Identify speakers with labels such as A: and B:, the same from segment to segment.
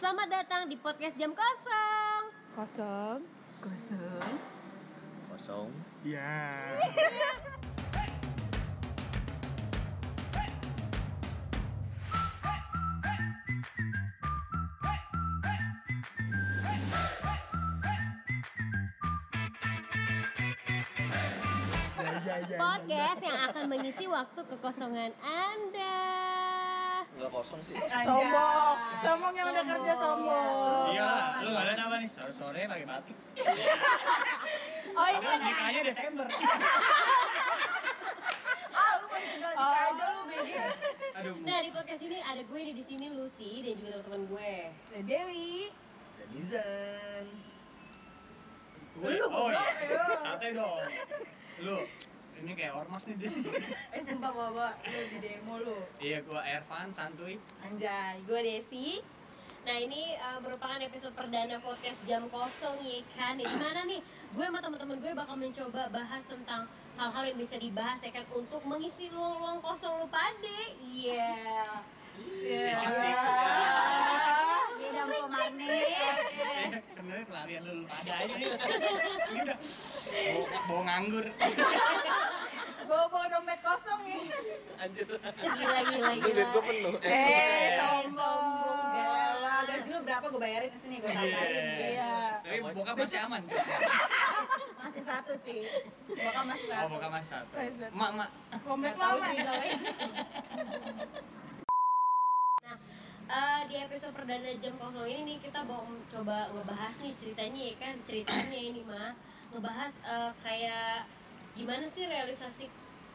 A: Selamat datang di podcast jam kosong.
B: kosong
C: kosong
D: kosong
E: Ya. Ya, ya, ya.
A: Podcast yang akan mengisi waktu kekosongan Anda.
D: nggak kosong sih
B: sombong sombong yang udah kerja sombong
E: Iya, lu kalian apa nih? Sore-sore pakai batik.
B: oh
E: Tapi
B: ini ada
E: nikahnya Desember.
B: oh. aja lu Begi
E: Aduh.
A: Nah, di podcast ini ada gue di sini Lucy dan juga teman-teman gue.
C: Eh,
B: Dewi
D: dan Nizan
E: Lu oh, iya. Santai dong. Lu ini kayak ormas nih dia.
C: eh sumpah bawa lu di demo lu
E: iya, gua Ervan santuy.
B: anjay gue Desi
A: Nah, ini eh, merupakan episode perdana podcast jam kosong ya kan. Di mana nih gue sama teman-teman gue bakal mencoba bahas tentang hal-hal yang bisa dibahas ya kan untuk mengisi ruang-ruang kosong lu pade. Iya.
B: Iya.
E: Asik.
C: beda mau marni
B: Iya.
A: Eh,
E: Eh, Sebenarnya pelarian lu pada aja nih. Ini udah bawa, bawa nganggur.
B: bawa bawa dompet kosong nih
D: anjir
A: Gila gila
D: ini
A: gila.
D: duit gue penuh
B: eh
A: Eh, sombong.
B: sombong
C: Gila, gaji lu berapa gue bayarin di sini gue tambahin
B: Iya.
E: Tapi bokap masih aman, Cok.
C: masih satu sih bakal masih
E: Oh,
C: satu
E: bokap masih satu.
B: Masih satu.
E: Mak, mak.
B: komplek
C: Nggak
B: ya?
C: tahu
B: lama
C: sih kalau ini.
A: Nah, eh, di episode perdana jam kosong ini nih kita mau coba ngebahas nih ceritanya ya kan ceritanya ini mah ngebahas eh, kayak gimana sih realisasi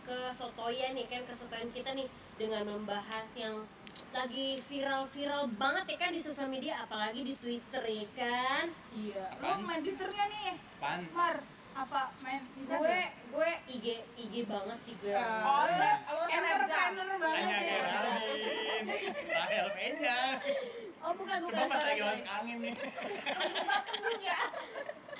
A: kesotoyan ya kan kesotoyan kita nih dengan membahas yang lagi viral-viral banget ya kan di sosial media apalagi di Twitter ya kan
B: iya
E: Apaan?
B: lu main twitternya nih
E: Pan.
B: Mar apa main bisa
A: gue
C: Iya.
A: gue IG IG banget sih gue
F: Ah.
B: Oh,
C: lu selebgram.
B: entrepreneur banget
E: Tanya kayak
B: ya.
E: Alvin. Rahel Peja.
A: oh bukan bukan
E: Coba pas
A: sorry,
E: lagi
A: sorry.
E: masuk angin nih.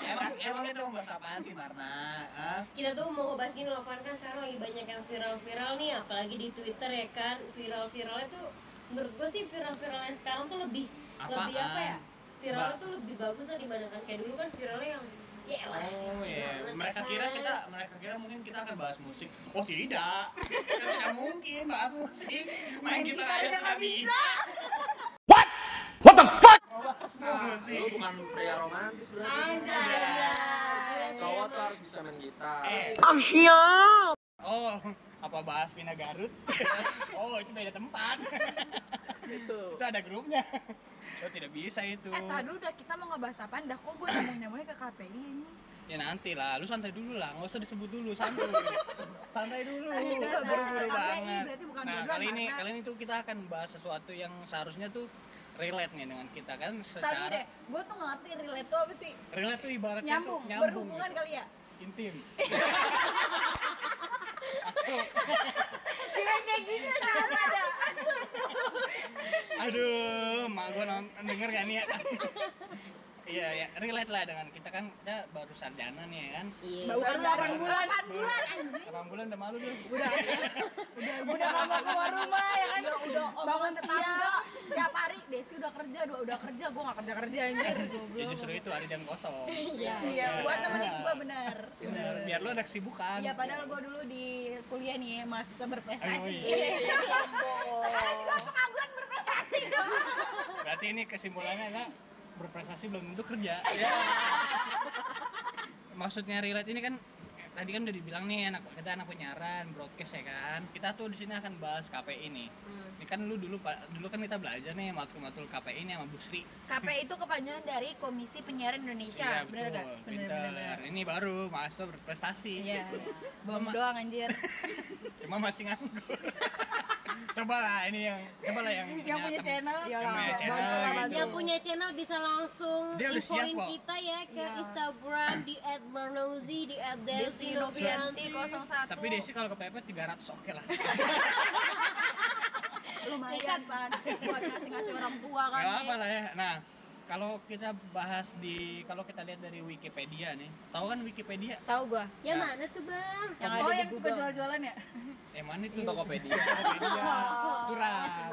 E: Emang emang itu bahasa apaan sih Marna? Hah?
A: kita tuh mau ngebahas gini loh Van kan sekarang lagi banyak yang viral-viral nih apalagi di Twitter ya kan viral-viralnya tuh menurut gue sih viral-viral yang sekarang tuh lebih lebih
E: Apaan?
A: apa ya viralnya
E: Mbak.
A: tuh lebih bagus lah dibandingkan kayak dulu kan viralnya yang ya lah
E: Oh
A: kecil
E: iya,
A: banget,
E: mereka
A: kan.
E: kira kita, mereka kira mungkin kita akan bahas musik. Oh tidak, Kan tidak mungkin bahas musik. Main gitar aja nggak bisa. What? What the
D: lu
E: fuck?
D: bukan pria romantis berarti
A: Gila sih,
D: cowok tuh
A: emang.
D: harus bisa main gitar
E: Eh. Oh, apa bahas pindah Garut? oh itu beda tempat.
B: Gitu.
E: itu ada grupnya. Oh tidak bisa itu.
F: Eh, tadi udah kita mau ngebahas apaan dah kok gue nyambung-nyambungnya ke KPI ini.
E: Ya nanti lah, lu santai dulu lah, nggak usah disebut dulu, santai. santai dulu.
F: Tadi juga bahasa
E: Buru-buru
F: KPI,
E: banget.
F: berarti bukan
E: Nah,
F: dua-duaan,
E: kali ini
F: Marna.
E: kali ini tuh kita akan bahas sesuatu yang seharusnya tuh relate nih dengan kita kan
F: Tadi deh,
E: secara
F: gue tuh nggak ngerti relate tuh apa sih?
E: relate tuh ibaratnya
F: Nyambung,
E: tuh
F: berhubungan
E: gitu.
F: kali ya?
E: intim. Masuk.
F: Kirain kayak gini salah ada.
E: Aduh, mak gua nonton denger kan ya. Iya, ya, relate lah dengan kita kan kita baru sarjana nih ya kan.
A: Iya.
F: Bukan
B: Baru
F: delapan
B: delapan
F: bulan, delapan bulan.
E: Abang bulan udah malu lu.
F: Udah,
B: Udah nggak mau keluar rumah ya kan?
F: udah, udah
B: Bangun
F: omongan tetangga tiap hari Desi udah kerja, udah, udah kerja, gue nggak kerja kerja anjir.
E: Ya justru itu ada jam kosong.
A: Iya.
F: Iya, buat nemenin gue bener.
E: Bener, biar lu ada kesibukan.
F: Iya, padahal gue dulu di kuliah nih mahasiswa berprestasi.
E: Ayo, iya.
F: Iya, Sekarang juga pengangguran berprestasi dong.
E: Berarti ini kesimpulannya adalah berprestasi belum tentu kerja.
F: Iya.
E: Maksudnya relate ini kan eh, tadi kan udah dibilang nih anak kita anak penyiaran broadcast ya kan. Kita tuh di sini akan bahas KPI nih.
F: Hmm.
E: Ini kan lu dulu pa- dulu kan kita belajar nih matkul-matkul KPI ini sama Busri.
F: KPI itu kepanjangan dari Komisi Penyiaran Indonesia, Iya, bener gak? Bener, bener, bener.
E: Pinter. Iya, Ini baru mahasiswa berprestasi.
F: Iya, bohong doang anjir.
E: Cuma masih nganggur. coba lah ini yang coba lah yang
F: Yang punya
E: tem-
F: channel,
E: yang punya
F: bantu
E: channel
F: lah,
E: gitu.
F: bantu.
A: yang punya channel bisa langsung
E: Dia udah siap
A: infoin
E: kok.
A: kita ya ke
F: Iya.
A: Instagram di @marnauzi di
F: Desi Novianti
A: Iya, @desi Ya
F: 01
E: Tapi Desi kalau kepepet 300 oke lah.
F: lumayan pan buat ngasih ngasih orang tua kan
E: Gak apa lah ya. Nah, Kalau kita bahas di kalau kita lihat dari Wikipedia nih, tahu kan Wikipedia?
F: Tahu gua.
A: Ya
E: Nah.
A: mana tuh bang?
F: Yang ada
B: oh
F: di
B: yang suka
F: Google.
B: jual-jualan ya?
E: Eh mana itu Tokopedia? Tokopedia. Kurang.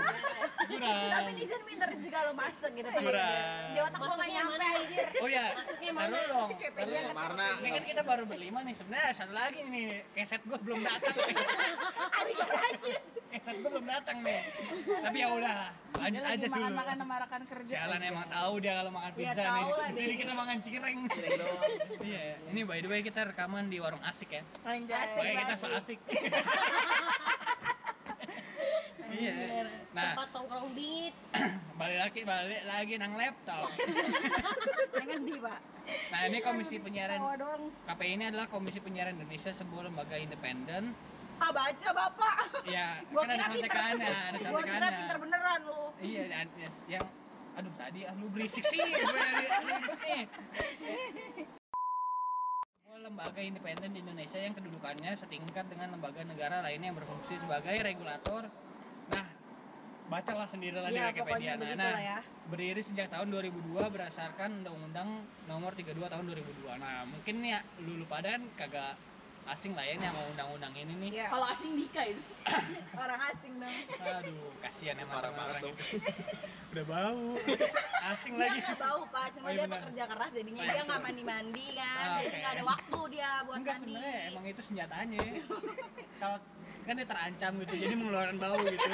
E: Kurang.
C: Tapi Nizan
E: Nah.
C: pinter juga lo masuk gitu.
E: Kurang.
C: Di otak lo nggak
A: Masuknya
C: nyampe
A: mana?
C: anjir.
E: Oh ya,
A: Masuknya mana?
E: taruh dong.
C: Wikipedia
D: Taruh, Marna.
E: Ini kan kita baru berlima nih. Sebenarnya satu lagi nih, keset gua belum datang. nih. keset gua belum datang nih. Tapi ya udah, lanjut
B: Dia
E: aja
B: lagi
E: dulu.
B: makan-makan sama rekan kerja.
E: Jalan emang tahu dia kalau makan
F: Iya,
E: pizza nih.
F: tahu lah
E: Di sini
F: dia.
E: kita makan cireng.
D: Cireng doang.
E: Iya, ya. ini by the way kita rekaman di warung asik ya.
B: Anjay.
E: Pokoknya kita so asik. Iya. Nah,
A: Tempat tongkrong beats.
E: balik lagi balik lagi nang laptop.
C: Dengan di pak.
E: Nah, ini komisi penyiaran
B: Tawa doang.
E: KPI ini adalah Komisi Penyiaran Indonesia sebuah lembaga independen.
C: Ah baca bapak.
E: Ya,
C: Gua
E: kan ada
C: kira pinter.
E: contekannya, ada
C: Gua kira pinter
E: contekannya.
C: beneran lo.
E: Iya, dan yes- yang aduh tadi ah lu berisik sih. Gue dari- aduh, ikut nih. Sebuah lembaga independen di Indonesia yang kedudukannya setingkat dengan lembaga negara lainnya yang berfungsi sebagai regulator. Nah, bacalah sendirilah
F: Iya,
E: di Wikipedia.
F: pokoknya
E: Nah,
F: begitulah
E: nah,
F: ya.
E: berdiri sejak tahun 2002 berdasarkan Undang-Undang Nomor 32 Tahun 2002. Nah, mungkin ya lu lupa dan kagak asing lah ya ini sama undang-undang ini nih.
F: Iya.
B: Kalau asing nikah itu.
F: Orang asing dong.
E: Iya. Aduh, kasihan
D: Parah
E: emang orang
D: banget dong.
E: itu. Udah bau. Asing lagi.
F: Dia nggak bau pak, cuma
E: Oh, iya
F: dia
E: benar.
F: pekerja keras jadinya
E: Oh, iya,
F: dia nggak
E: betul.
F: mandi mandi kan,
E: Ah,
F: jadi
E: oke.
F: nggak ada waktu dia buat
E: Enggak
F: mandi.
E: sebenarnya emang itu senjatanya. Kalau kan dia terancam gitu, jadi mengeluarkan bau gitu.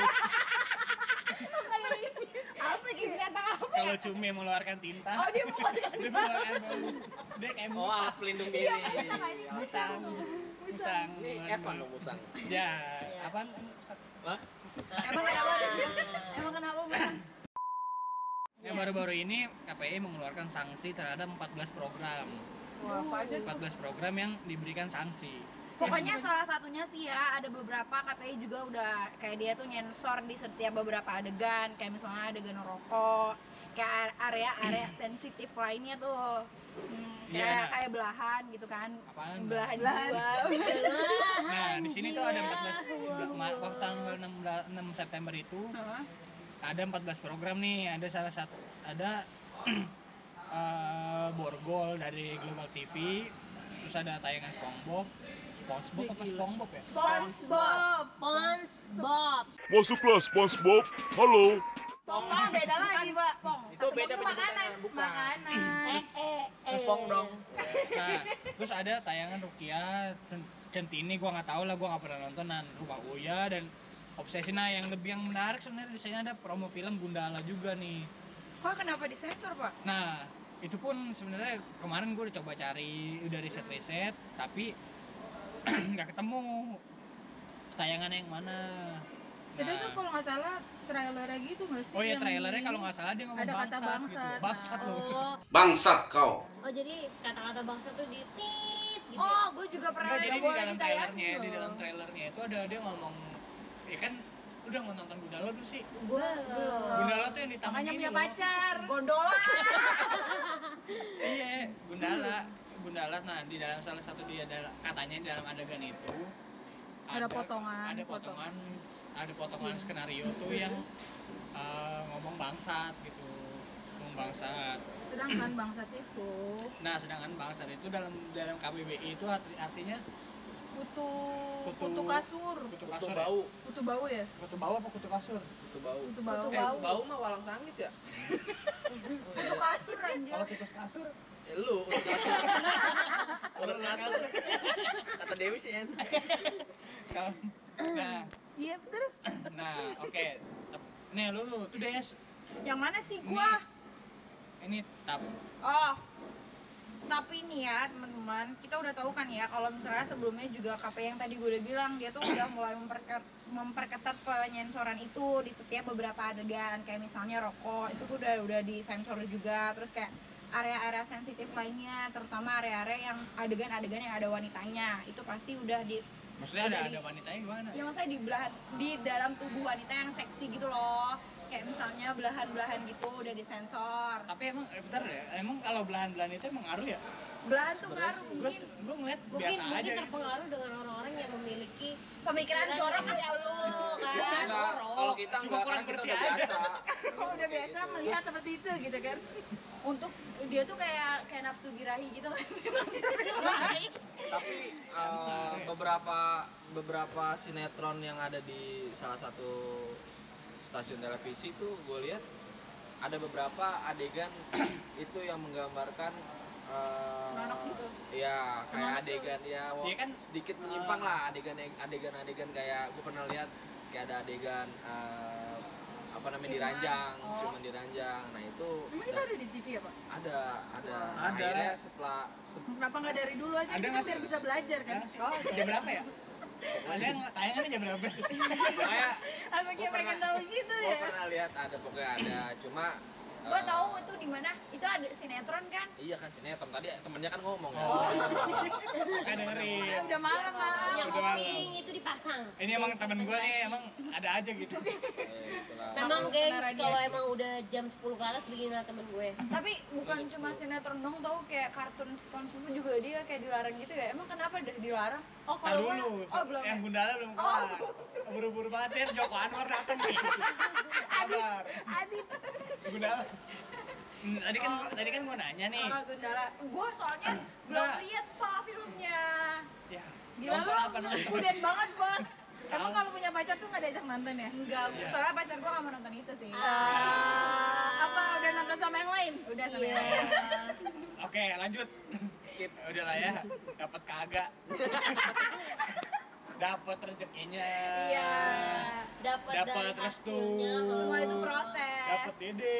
F: Apa di binatang apa?
E: Kalau cumi mengeluarkan tinta,
F: Oh dia bukan
E: dia mengeluarkan bau. Dia kayak
D: Oh,
E: musang.
D: alat pelindung diri.
E: Musang. Musang.
D: Ini
E: mengeluarkan
D: Evan
E: bau.
D: dong musang.
E: Ya,
A: Iya.
E: apaan? kan musang?
D: Hah?
F: Emang kenapa? Nah, iya. Emang kenapa bukan?
E: Ya baru-baru ini KPI mengeluarkan sanksi terhadap 14 program.
B: Wah, apa aja tuh?
E: 14 program yang diberikan sanksi.
F: Pokoknya salah satunya sih ya ada beberapa KPI juga udah kayak dia tuh nyensor di setiap beberapa adegan, kayak misalnya adegan rokok, kayak area-area sensitif lainnya tuh. Hmm, kayak
E: Iya, nah.
F: kayak belahan gitu kan.
E: Apaan?
F: Belahan, jiwa.
E: Nah, di sini tuh ada 14
A: Jiwa.
E: sebelum ma- waktu tanggal 16 6 September itu
F: Heeh.
E: ada 14 program nih, ada salah satu ada eh, borgol dari Global TV, terus ada tayangan SpongeBob, SpongeBob apa SpongeBob ya?
B: SpongeBob.
A: Pons Bob.
G: Masuklah SpongeBob. Halo.
B: Pokoknya beda lagi, Pak.
D: Itu beda penyebutannya, bukan.
B: Makanan.
A: Eh eh eh.
D: Song dong.
E: Nah, terus ada tayangan Rukia, Cen- Centini gua nggak tahu lah, gua nggak pernah nonton dan Rupa Uya dan Obsesi nah yang lebih yang menarik sebenarnya di sini ada promo film Gundala juga nih.
F: Kok kenapa disensor, Pak?
E: Nah, itu pun sebenarnya kemarin gue udah coba cari udah riset riset, tapi nggak ketemu tayangannya yang mana. Nah,
B: Itu tuh kalau nggak salah trailernya gitu nggak sih?
E: oh ya
B: Yang
E: trailernya
B: di-
E: kalau nggak salah dia ngomong
B: ada kata
E: bangsat,
B: bangsat.
E: gitu, bangsat loh.
A: Oh,
D: Bangsat kau.
A: oh jadi kata-kata bangsa tuh di tit gitu.
F: Oh, gue juga pernah
E: Nggak, jadi di
F: gua
E: dalam
F: ditayangin
E: trailernya, di
F: loh.
E: dalam trailernya itu ada dia ngomong, ya kan lu udah mau nonton Gundala tuh sih.
A: Gue belum.
E: Gundala tuh yang di taman
B: Oh. Makanya
E: ini
B: punya
E: loh.
B: pacar.
F: Gondola.
E: Iya, Gundala. Gundala nah di dalam salah satu dia ada- katanya di dalam adegan itu
B: Ada potongan,
E: ada potongan ada potongan skenario tuh yang uh, ngomong bangsat gitu ngomong bangsat
B: Sedangkan bangsat itu
E: nah sedangkan bangsat itu dalam dalam KBBI itu arti- artinya
B: kutu
E: Kutu-
B: kutu, kasur,
E: kutu
D: Itu
E: kasur
D: bau,
B: kutu bau
E: ya?
B: ya?
E: kutu bau apa kutu kasur
D: itu bau.
B: Kutu bau.
D: Eh, bau mah walang sangit ya?
F: Itu kasur
B: Iya.
F: anjir.
E: kalau tikus kasur
D: Eh, lu udah kasur. Udah kasur. Kata Dewi sih enak.
E: kalau nah
B: Iya betul.
E: nah oke nih lu lu tuh des
F: Yang mana sih gua?
E: ini tap
F: Oh. Tapi nih ya teman-teman, kita udah tahu kan ya kalau misalnya sebelumnya juga KP yang tadi gue udah bilang dia tuh udah mulai memperker- memperketat penyensoran itu di setiap beberapa adegan kayak misalnya rokok itu tuh udah udah disensor juga terus kayak area-area sensitif lainnya terutama area-area yang adegan-adegan yang ada wanitanya itu pasti udah di
E: maksudnya ada
F: Jadi-
B: Iya,
E: ada wanitanya gimana
F: ya maksudnya di belahan di dalam tubuh wanita yang seksi gitu loh kayak misalnya belahan-belahan gitu udah disensor
E: tapi emang eh, bentar ya emang kalau belahan-belahan itu emang ngaruh ya
F: belahan tuh ngaruh
E: gue
F: mungkin
E: gue ngeliat
A: mungkin
E: biasa aja
A: mungkin
E: gitu.
A: terpengaruh dengan orang-orang yang memiliki
F: pemikiran jorok kayak lu kan
D: Enggak, kalau kita
E: Cuma
D: enggak, kan
E: kurang
D: kita
E: bersih
D: udah
E: aja.
D: biasa.
B: udah biasa melihat seperti itu gitu kan
F: untuk dia tuh kayak kayak nafsu birahi gitu kan
D: Tapi eh, beberapa beberapa sinetron yang ada di salah satu stasiun televisi tuh gue lihat ada beberapa adegan itu yang menggambarkan eh,
F: Senonoh gitu.
D: Iya, kayak adegan ya, wah,
E: Iya kan,
D: sedikit menyimpang lah adegan adegan adegan kayak gue pernah lihat kayak ada adegan eh, apa namanya
F: Ciuman.
D: diranjang,
F: Oh.
D: cuman diranjang. Nah itu
B: emang itu
D: sedang-
B: ada di TV ya pak
D: ada ada,
E: Ada.
D: akhirnya setelah se-
B: kenapa nggak dari dulu aja
E: Ada
B: kita
E: nggak sih?
B: biar bisa belajar kan
E: Jarang sih. jam berapa ya ada yang tayangannya jam berapa
D: kayak
B: langsung kayak pengen tahu gitu
D: gue
B: ya
D: pernah lihat ada pokoknya ada cuma
F: gue
D: eh,
F: tahu itu di mana itu ada sinetron kan
D: iya kan sinetron tadi temennya kan ngomong ya.
E: Nggak dengerin
B: udah
F: Iya,
B: malam
F: kan?
B: lah
A: yang
E: Ah, Udah.
A: kuping itu dipasang
E: ini emang temen gue nih emang ada aja gitu
D: Eh, itulah.
A: memang
B: Makhluk
A: gengs
B: peneradiasi.
A: kalau emang udah jam 10 ke atas beginilah temen gue
F: tapi bukan cuma sinetron dong tau kayak kartun SpongeBob juga dia kayak dilarang gitu ya emang kenapa udah dilarang
A: oh
E: Nah
A: kalau gue
E: dulu,
F: oh, belum
E: yang
F: ya?
E: Gundala belum keluar Buru-buru banget ya, Joko Anwar datang nih Sabar
F: Adit
E: Gundala Hmm, Tadi kan, tadi kan gue nanya nih
F: sama Gundala gue soalnya belum
E: Enggak.
F: lihat pak filmnya
E: Ya,
B: gila
E: nonton apa
B: lu
E: nonton?
B: puden banget bos emang kalau punya pacar tuh nggak diajak nonton ya
F: enggak gua- soalnya pacar gue gak mau nonton itu sih
B: apa udah nonton sama yang lain
F: udah sama
A: Iya.
E: Oke lanjut Skip Udah lah ya, dapat kagak Dapat rezekinya
B: iya
A: dapat
E: Dapat
A: dari
E: restu.
A: hasilnya
F: semua
A: oh.
F: itu proses
E: Dapat dede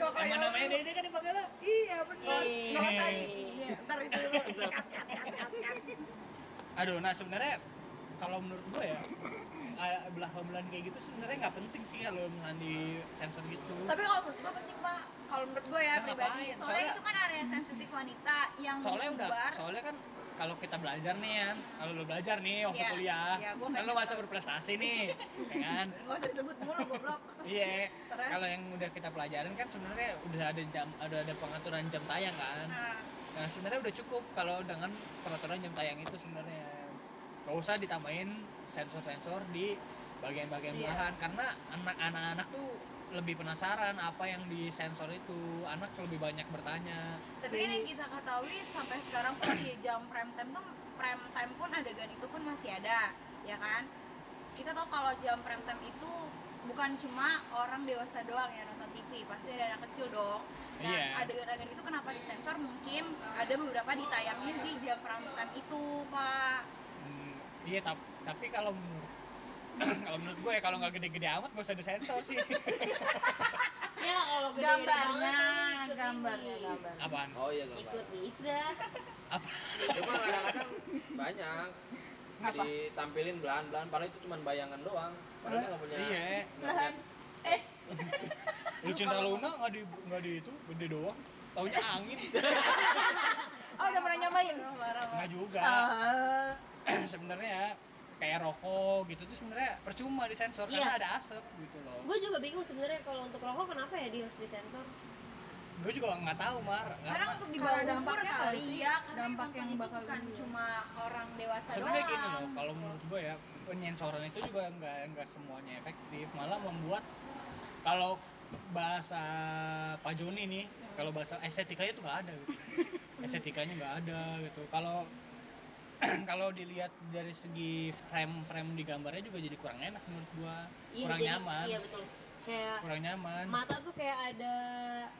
F: Kok
E: Apa
F: kayak
E: namanya dede kan dipakai lah
F: iya benar
A: Yeay.
F: nggak usah di iya, ntar itu dulu cut cut cut cut cut
E: Aduh, nah sebenarnya kalau menurut gue ya eh, belah belahan kayak gitu sebenarnya nggak penting sih kalau misalnya di sensor gitu
F: tapi kalau menurut gue penting pak kalau menurut gue ya
E: Nah,
F: pribadi
E: ngapain?
F: soalnya,
E: Soalnya-
F: itu kan area sensitif wanita yang
E: soalnya udah
F: bubar.
E: soalnya kan kalau kita belajar nih ya kalau lo belajar nih waktu
F: Iya,
E: kuliah
F: iya, gua
E: kan
F: kayak
E: lo
F: gitu.
E: masa berprestasi nih ya kan
F: nggak usah disebut mulu goblok
E: iya
F: Terus?
E: kalau yang udah kita pelajarin kan sebenarnya udah ada jam ada ada pengaturan jam tayang kan
F: nah,
E: nah sebenarnya udah cukup kalau dengan peraturan jam tayang itu sebenarnya gak usah ditambahin sensor-sensor di bagian-bagian
F: Iya.
E: belahan karena anak- anak-anak tuh lebih penasaran apa yang di sensor itu anak lebih banyak bertanya
F: tapi kan yang kita ketahui sampai sekarang pun di jam prime time tuh prime time pun adegan itu pun masih ada ya kan kita tahu kalau jam prime time itu bukan cuma orang dewasa doang yang nonton TV pasti ada anak kecil dong nah
E: Iya.
F: adegan-adegan itu kenapa disensor mungkin ada beberapa ditayangin di jam prime time itu pak
E: Hmm, iya tapi, tapi kalau menurut kalau menurut gue ya kalau nggak gede-gede amat gak usah disensor sih
A: ya kalau gede
B: gambarnya
A: banget, ikut
B: gambarnya
A: ini.
B: gambar
E: apaan
D: oh iya nggak apa
A: ikut itu dah
E: apa
D: cuma kadang-kadang banyak ditampilin belahan-belahan padahal itu cuma bayangan doang padahal dia nggak punya
E: iya
D: belahan
E: lu cinta Luna nggak di nggak di itu gede doang taunya angin
B: oh udah pernah nyobain
E: nggak juga
B: Ah.
E: sebenarnya kayak rokok gitu tuh sebenarnya percuma disensor karena
A: Iya.
E: ada asap gitu loh
A: gue juga bingung sebenarnya kalau untuk rokok kenapa ya dia harus disensor
E: gue juga nggak tahu mar
F: karena untuk di bawah
B: Karena
F: umur
B: dampaknya
F: kali
B: kali
F: ya karena
B: dampak
F: emang
B: yang
F: itu
B: bakal
F: bukan
B: ini.
F: cuma orang dewasa
E: sebenarnya
F: doang
E: gini loh kalau menurut gue ya penyensoran itu juga nggak nggak semuanya efektif malah membuat kalau bahasa Pak Joni nih kalau bahasa estetikanya itu nggak ada gitu. estetikanya nggak ada gitu kalau kalau dilihat dari segi frame-frame di gambarnya juga jadi kurang enak menurut gua
A: Iya,
E: kurang
A: jadi-
E: nyaman
A: iya betul kayak
E: kurang nyaman
A: mata tuh kayak ada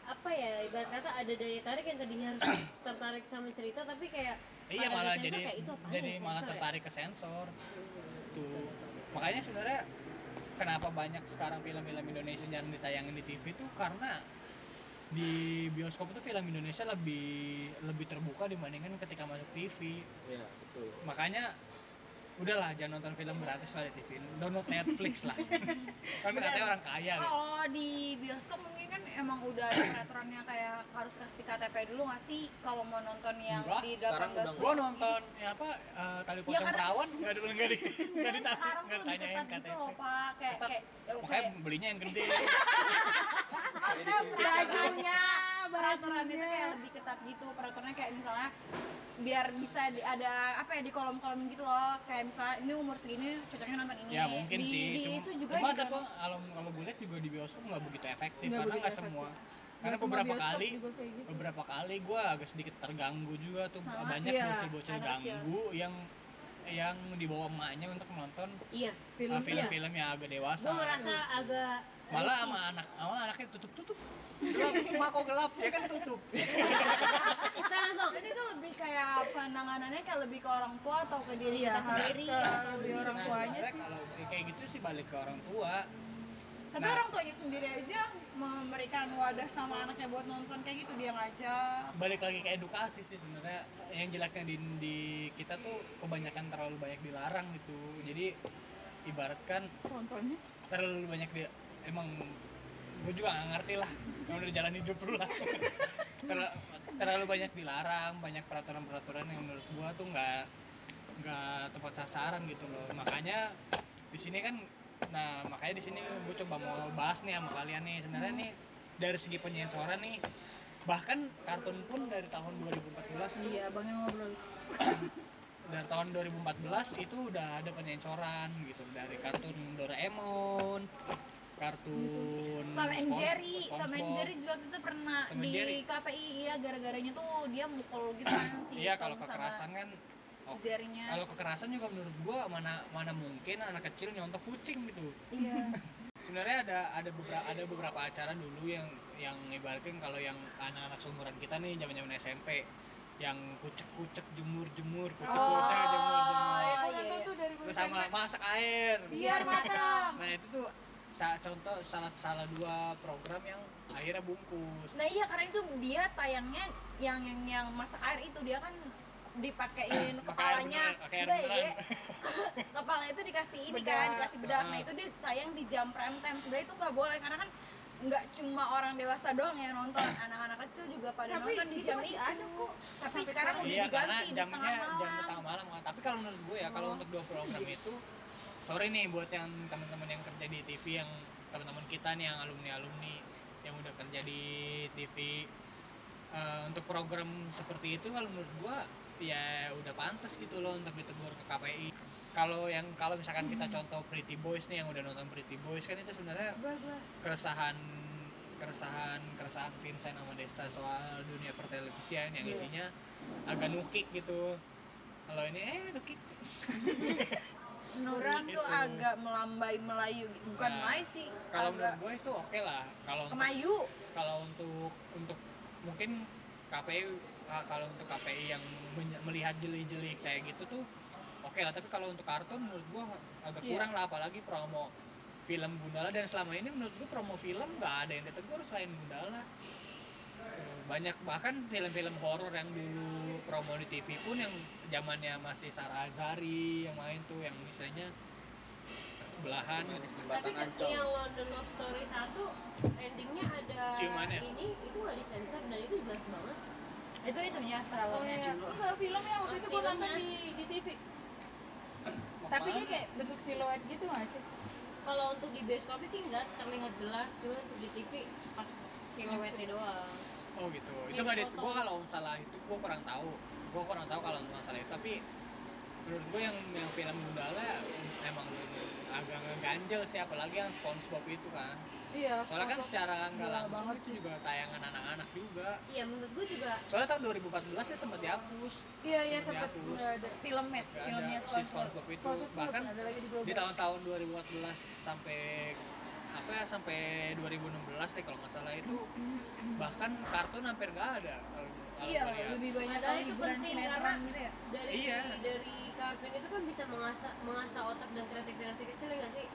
A: apa ya ibarat kata ada daya tarik yang tadinya harus tertarik sama cerita tapi kayak
E: iya
A: pada
E: malah
A: disensor
E: jadi
A: kayak, "Itu apaan
E: jadi
A: ya,
E: malah
A: sensor ya?"
E: tertarik ke sensor tuh makanya sebenarnya kenapa banyak sekarang film-film Indonesia jarang ditayangin di TV tuh karena di bioskop itu film Indonesia lebih lebih terbuka dibandingkan ketika masuk TV
D: iya betul
E: makanya udahlah jangan nonton film gratis lah di TV download Netflix lah kan katanya orang kaya gitu.
A: Oh.
F: kalau di bioskop mungkin kan emang udah udah ada peraturannya kayak harus kasih KTP dulu nggak sih kalau mau nonton yang
E: Enggak,
F: di
D: sekarang
F: 18
D: udah
E: Gua nonton ya apa eh, tali
A: Iya,
F: Ya,
E: pocong
F: karena-
E: perawan nggak ada nggak di nggak
F: Sekarang
E: ditanya
F: tuh
E: nggak
F: lebih
E: ditanyain
F: ketat gitu
E: katanya.
F: loh pak kayak kayak
E: Makanya
F: kayak
E: belinya yang gede.
D: Jadi sih,
F: bajunya peraturan itu kayak lebih ketat gitu peraturannya kayak misalnya biar bisa di- ada apa ya di kolom-kolom gitu loh kayak misalnya ini umur segini cocoknya nonton ini
E: ya mungkin
F: di,
E: sih.
F: di
E: Cuma,
F: itu juga
E: cuma
F: di dalam-
E: tapi kalau kalau gue lihat juga di bioskop nggak begitu efektif
B: kan. Nggak
E: karena
B: begitu
E: nggak
B: efektif.
E: semua.
B: Nggak
E: Karena
B: semua
E: beberapa
B: bioskop
E: kali
B: juga kayak gitu.
E: beberapa kali gue agak sedikit terganggu juga tuh
F: Sama,
E: banyak
B: iya,
E: bocil-bocil
A: anak kecil.
E: ganggu yang yang dibawa emaknya untuk menonton
A: Iya,
E: uh,
B: Film ya.
E: film-film yang agak dewasa.
A: gue ngerasa agak
E: Malah sama anak, awal anaknya tutup-tutup.
B: Iya.
E: Gelap, mak kok gelap? Ya kan tutup.
A: kita langsung
F: Berarti itu lebih kayak penanganannya kayak lebih ke orang tua atau ke diri
B: Iya,
F: kita
B: harus
F: sendiri
B: ke
F: atau
B: lebih
F: di-
B: orang
E: Nah,
B: tuanya
E: sebenarnya
B: sih.
E: Kalau kayak gitu sih balik ke orang tua.
F: Tapi
E: Nah.
F: orang tuanya sendiri aja memberikan wadah sama anaknya buat nonton kayak gitu dia ngajak.
E: balik lagi ke edukasi sih sebenarnya yang jeleknya di, di kita tuh kebanyakan terlalu banyak dilarang gitu jadi ibaratkan
B: Contohnya.
E: terlalu banyak dia emang gue juga nggak ngerti lah emang udah jalan hidup dulu lah Terla- terlalu banyak dilarang banyak peraturan-peraturan yang menurut gua tuh nggak nggak tepat sasaran gitu loh makanya di sini kan nah makanya di sini gue coba mau bahas nih sama kalian nih sebenarnya nih dari segi penyensoran nih bahkan kartun pun dari tahun 2014 tuh
B: Iya, abangnya ngobrol.
E: dari tahun 2014 itu udah ada penyensoran gitu dari kartun Doraemon kartun
F: Tom and
E: Spon-
F: Jerry, Tom and
E: SpongeBob.
F: Jerry juga waktu itu pernah
E: Tom and
F: di
E: Jerry.
F: KPI ya gara-garanya tuh dia mukul gitu kan si
E: iya
F: Tom
E: kalau
F: sama
E: kekerasan kan oh,
F: Jerry-nya.
E: kalau kekerasan juga menurut gua mana mana mungkin anak kecil nyontoh kucing gitu
F: Iya.
E: sebenarnya ada ada beberapa ada beberapa acara dulu yang yang ibaratkan kalau yang anak-anak seumuran kita nih zaman-zaman SMP yang kucek-kucek jemur-jemur kucek-kucek jemur-jemur
F: iya,
B: Aku
F: iya,
B: nonton
F: iya.
B: tuh dari
E: terus sama masak air
F: Biar matang.
E: nah itu tuh sa- contoh salah salah dua program yang akhirnya bungkus
F: Nah iya karena itu dia tayangnya yang yang yang masak air itu dia kan dipakein
E: Pakai air
F: kepalanya
E: beneran, pakai air
F: enggak ya dia
E: beneran.
F: kepala itu dikasih ini kan dikasih bedak nah
E: Ah.
F: itu dia tayang di jam prime time sebenarnya itu nggak boleh karena kan nggak cuma orang dewasa doang yang nonton anak-anak kecil juga pada
B: Tapi
F: nonton di
B: itu
F: jam
B: masih
F: itu
B: ada kok.
F: kan tapi
B: Sampai
F: sekarang udah
E: iya karena
F: diganti di
E: jamnya
F: tengah
E: jam
F: malam Iya.
E: tengah malam kan. tapi kalau menurut gue ya kalau untuk dua program itu sorry nih buat yang teman-teman yang kerja di TV yang teman-teman kita nih yang alumni alumni yang udah kerja di TV Eh, untuk program seperti itu kalau menurut gua ya udah pantas gitu loh untuk ditegur ke KPI kalau yang kalau misalkan kita contoh Pretty Boys nih yang udah nonton Pretty Boys kan itu sebenarnya keresahan keresahan keresahan Vincent sama Desta soal dunia pertelevisian yang
F: Iya.
E: isinya agak nukik gitu kalau ini eh nukik
F: Nurang
E: Gitu.
F: tuh agak melambai melayu gitu. bukan
E: Nah,
F: melayu sih
E: kalau
F: agak
E: menurut gue itu oke lah kalau untuk-
F: kemayu
E: kalau untuk untuk mungkin KPI ah, kalau untuk KPI yang men- melihat jeli-jeli kayak gitu tuh oke lah tapi kalau untuk kartun menurut gua agak
B: Iya.
E: kurang lah apalagi promo film Gundala dan selama ini menurut gua promo film nggak ada yang ditegur selain Gundala Eh, banyak bahkan film-film horor yang dulu promo di TV pun yang zamannya masih Sarah Azhari yang main tuh yang misalnya belahan
D: manis
A: tapi
D: jembatan
A: ketika
D: ancol.
A: yang London Love Story satu endingnya ada
E: Ciumannya.
A: ini itu nggak disensor dan itu jelas banget
F: itu itunya perawannya dulu
B: Iya. Enggak, film yang waktu itu gue
A: Filmnya.
B: nonton di, di TV. Tapi dia kayak bentuk siluet gitu gak sih?
A: kalau untuk di bioskop sih nggak terlihat jelas cuma untuk di TV pas siluetnya doang
E: Oh gitu.
A: Jadi
E: Itu nggak ada.
A: foto.
E: Gue kalau salah itu gue kurang tahu. Gue kurang tahu kalau masalah itu. Tapi menurut gue yang yang film Gundala emang agak ngeganjel sih apalagi yang SpongeBob itu kan.
B: Iya.
E: Soalnya kan
B: foto.
E: secara nggak
B: Gila
E: langsung
B: banget
E: itu juga tayangan anak-anak juga.
A: iya menurut gue juga
E: Soalnya tahun 2014 ya sempat dihapus.
B: Iya, iya
E: Sempat
B: sempat
E: dihapus.
B: nggak ada.
F: filmnya
E: Nggak ada
F: filmnya
E: Iya, si
F: SpongeBob
E: SpongeBob itu
B: Sponsor tuh
E: bahkan
B: ada lagi
E: di
B: di Global.
E: tahun-tahun 2014 sampai apa ya sampai 2016 deh kalau nggak salah itu bahkan kartun hampir nggak ada kalau kalau
F: Iya,
E: gua lihat.
F: lebih banyak
A: Padahal itu
F: hiburan
A: penting,
F: sinetron
A: karena-
F: gitu ya.
A: dari
E: Iya.
A: dari kartun itu kan bisa mengasah mengasah otak dan kreativitas si kecil ya nggak sih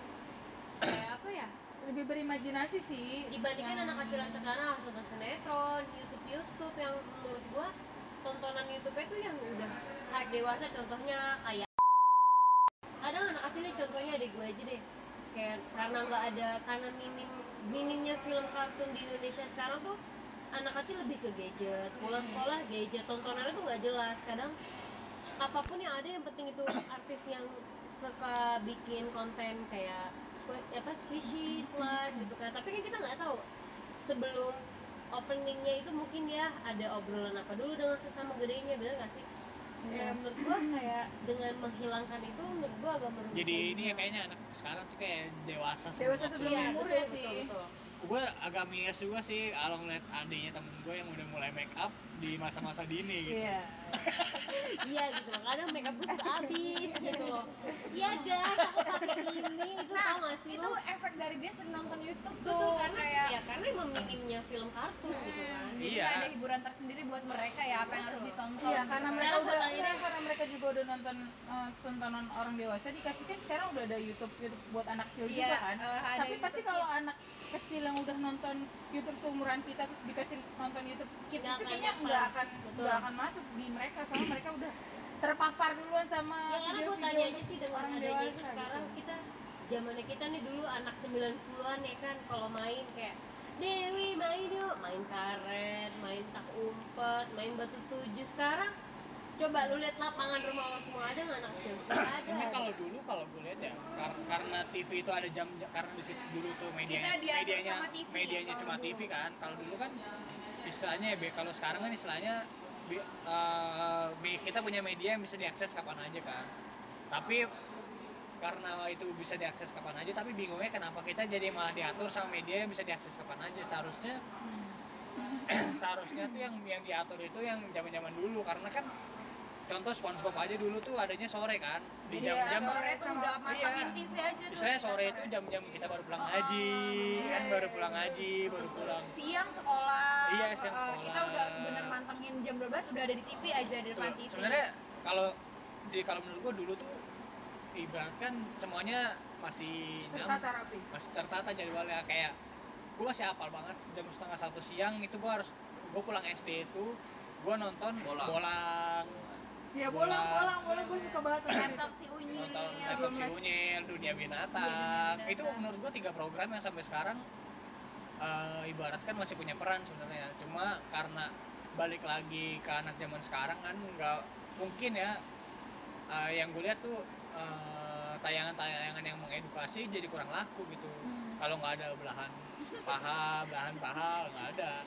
A: kayak apa ya
B: Lebih berimajinasi sih.
A: dibandingkan anak kecil yang sekarang harus nonton sinetron YouTube YouTube yang menurut gua tontonan YouTube itu yang udah hard dewasa contohnya kayak kadang anak kecil nih contohnya adik gue aja deh kayak karena nggak ada karena minim minimnya film kartun di Indonesia sekarang tuh anak kecil lebih ke gadget pulang sekolah gadget tontonannya tuh nggak jelas kadang apapun yang ada yang penting itu artis yang suka bikin konten kayak spe- apa species lah gitu kan tapi kan kita nggak tahu sebelum openingnya itu mungkin ya ada obrolan apa dulu dengan sesama gedenya bener gak sih Ya, menurut gua kayak dengan menghilangkan itu menurut gua agak merugikan.
E: Jadi ini ya kayaknya anak sekarang tuh kayak dewasa semua.
B: Dewasa sebelum
A: Iya, betul,
B: umur ya
A: betul,
B: sih.
A: betul.
E: Gue agak miris juga sih kalau ngeliat adiknya temen gue yang udah mulai make up di masa-masa dini gitu.
B: Iya.
A: Iya gitu loh, kadang makeup gue suka habis gitu loh Iya guys, aku pakai ini, itu tau gak sih
F: itu
A: lo?
F: efek dari dia sering nonton YouTube tuh,
A: Betul, karena
F: kayak
A: ya karena emang minimnya film kartun gitu kan
F: Hmm, jadi
E: Iya.
F: kayak ada hiburan tersendiri buat mereka ya apa yang harus ditonton
B: Iya, karena mereka
A: Sekarang
B: udah
A: gua tanya
B: iya,
A: deh.
B: karena mereka juga udah nonton eh, tontonan orang dewasa dikasihkan sekarang udah ada YouTube YouTube buat anak kecil
F: Iya,
B: juga kan.
F: eh, ada
B: Tapi pasti
F: YouTube
B: kalau anak kecil yang udah nonton YouTube seumuran kita terus dikasih nonton YouTube kids
A: Nggak
B: itu
A: akan
B: kayaknya
A: dapat.
B: nggak akan
A: Betul.
B: nggak akan masuk di mereka soalnya mereka udah terpapar duluan sama
A: Ya karena gue
B: video-video
A: tanya aja
B: untuk
A: sih dengan
B: iya. orang
A: adanya itu
B: dewasa
A: sekarang
B: gitu.
A: kita zamannya kita nih dulu anak 90-an ya kan kalau main kayak Dewi main yuk, main karet, main tak umpet, main batu tujuh sekarang Coba lu lihat lapangan rumah lo semua ada nggak anak kecil? Nggak ada.
E: Tapi kalau dulu kalau gue lihat ya kar- karena TV itu ada jam karena di situ dulu tuh media
F: Kita diatur
E: medianya
F: sama TV,
E: medianya
F: kalau
E: cuma
F: dulu.
E: TV kan. Kalau dulu kan istilahnya ya, Be, kalau sekarang kan istilahnya be- eh, me- kita punya media yang bisa diakses kapan aja kan. Tapi karena itu bisa diakses kapan aja tapi bingungnya kenapa kita jadi malah diatur sama media yang bisa diakses kapan aja seharusnya seharusnya tuh yang yang diatur itu yang zaman-zaman dulu karena kan contoh SpongeBob aja dulu tuh adanya sore kan
F: Jadi
E: di
F: kita
E: jam-jam
F: sore tuh udah
E: Iya.
F: matangin TV aja tuh
E: Misalnya
F: kita
E: sore itu jam-jam kita baru
F: Oh,
E: pulang ngaji,
F: iya,
E: kan baru pulang ngaji, baru pulang. gitu.
F: siang sekolah
E: Iya, siang
F: eh, kita
E: sekolah.
F: udah bener mantengin jam 12 udah ada di TV aja di depan TV
E: Sebenarnya kalau di kalau menurut gua dulu tuh ibarat kan semuanya masih
B: tertata
E: nyam-
B: rapi. Ya,
E: masih tertata jadwalnya kayak gua masih hafal banget jam setengah satu siang itu gua harus gua pulang SD itu gua nonton
D: Bolang.
E: bolang Iya.
B: Ya bolang bolang bolang gue suka banget nonton itu.
F: Laptop si Unyil
E: nonton Setan Si Unyil, Dunia Binatang.
F: Dunia Binatang.
E: Itu menurut gua tiga program yang sampai sekarang eh, ibaratkan masih punya peran sebenarnya. Cuma karena balik lagi ke anak zaman sekarang kan nggak mungkin ya eh, yang gue lihat tuh eh, tayangan-tayangan yang mengedukasi jadi kurang laku gitu. Kalau nggak ada belahan paha, belahan paha nggak ada.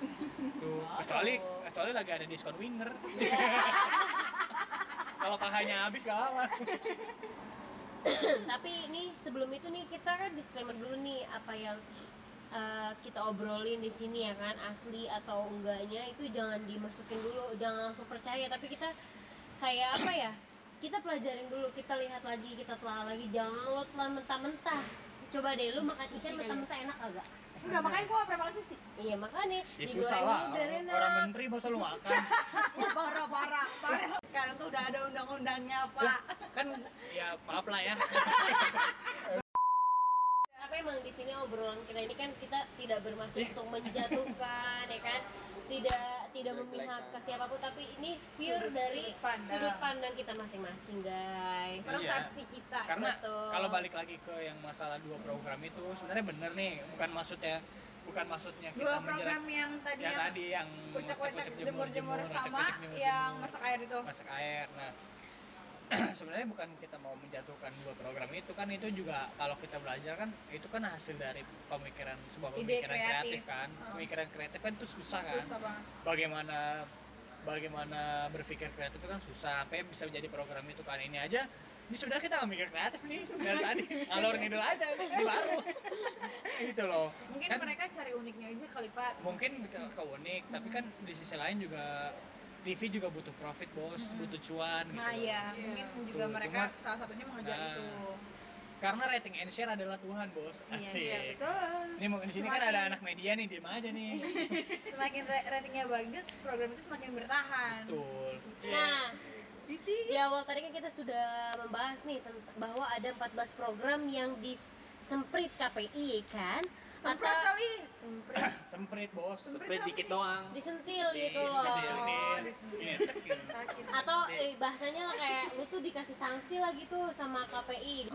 E: Tuh kecuali kecuali lagi ada diskon winger. Kalau pahanya habis nggak apa-apa.
A: tapi ini sebelum itu nih kita kan disclaimer dulu nih apa yang uh, kita obrolin di sini ya kan asli atau enggaknya itu jangan dimasukin dulu jangan langsung percaya tapi kita kayak apa ya kita pelajarin dulu kita lihat lagi kita telah lagi jangan lo telah mentah-mentah coba deh lu makan ikan mentah-mentah enak agak
B: Enggak makanya gue gak pernah makan sushi.
A: iya makanya
E: Ya
A: digoreng
E: susah
A: dulu
E: lah,
A: biar
E: orang,
A: enak.
E: orang menteri masa lu makan
F: parah parah parah sekarang tuh udah ada undang-undangnya pak
E: Kan ya maaf lah ya
A: Tapi emang di sini obrolan kita ini kan kita tidak bermaksud untuk menjatuhkan, ya kan? Tidak tidak memihak ke siapapun, tapi ini pure dari sudut pandang,
B: pandang.
A: kita masing-masing, guys.
F: persepsi kita
E: Karena
A: Betul.
E: kalau balik lagi ke yang masalah dua program itu sebenarnya bener nih Bukan maksudnya Bukan maksudnya kita
F: dua
E: menjelek-
F: program yang tadi
E: yang
F: yang
E: tadi yang
F: ucek-ucek
E: ucek-ucek
F: jemur-jemur sama
E: ucek-ucek jemur-jemur.
F: yang masak air itu
E: masak air nah sebenarnya bukan kita mau menjatuhkan dua program itu kan itu juga kalau kita belajar kan itu kan hasil dari pemikiran sebuah
F: Ide
E: pemikiran kreatif.
F: kreatif.
E: kan
F: Oh.
E: pemikiran kreatif kan itu susah kan
F: susah banget
E: bagaimana bagaimana berpikir kreatif itu kan susah sampai bisa menjadi program itu kan ini aja ini sebenarnya kita nggak mikir kreatif nih dari tadi ngalor ngidul aja ini baru gitu loh
F: mungkin
E: Kan-
F: mereka cari uniknya aja kali pak
E: mungkin ke, ke unik tapi kan di sisi lain juga TV juga butuh profit bos butuh cuan gitu
F: nah
E: loh.
F: ya
B: Iya.
F: mungkin juga
E: Tuh,
F: mereka
E: cuma-
F: salah satunya mengejar
E: Nah.
F: itu
E: karena rating and share adalah Tuhan bos asik
B: Iya betul.
E: ini mungkin di sini kan
F: Semakin-
E: ada anak media nih diem aja nih
F: semakin ra- ratingnya bagus program itu semakin bertahan
E: betul
A: Nah, di awal tadi kan kita sudah membahas nih tentang bahwa ada 14 program yang disemprit KPI kan,
B: Semprot
A: atau
B: kali.
F: Semprit.
E: semprit bos
D: Semprit dikit doang.
A: disentil gitu loh.
E: Iya, Disentil. Disentil.
B: Sakit.
A: atau eh, bahasanya lah kayak lu tuh dikasih sanksi lah gitu sama KPI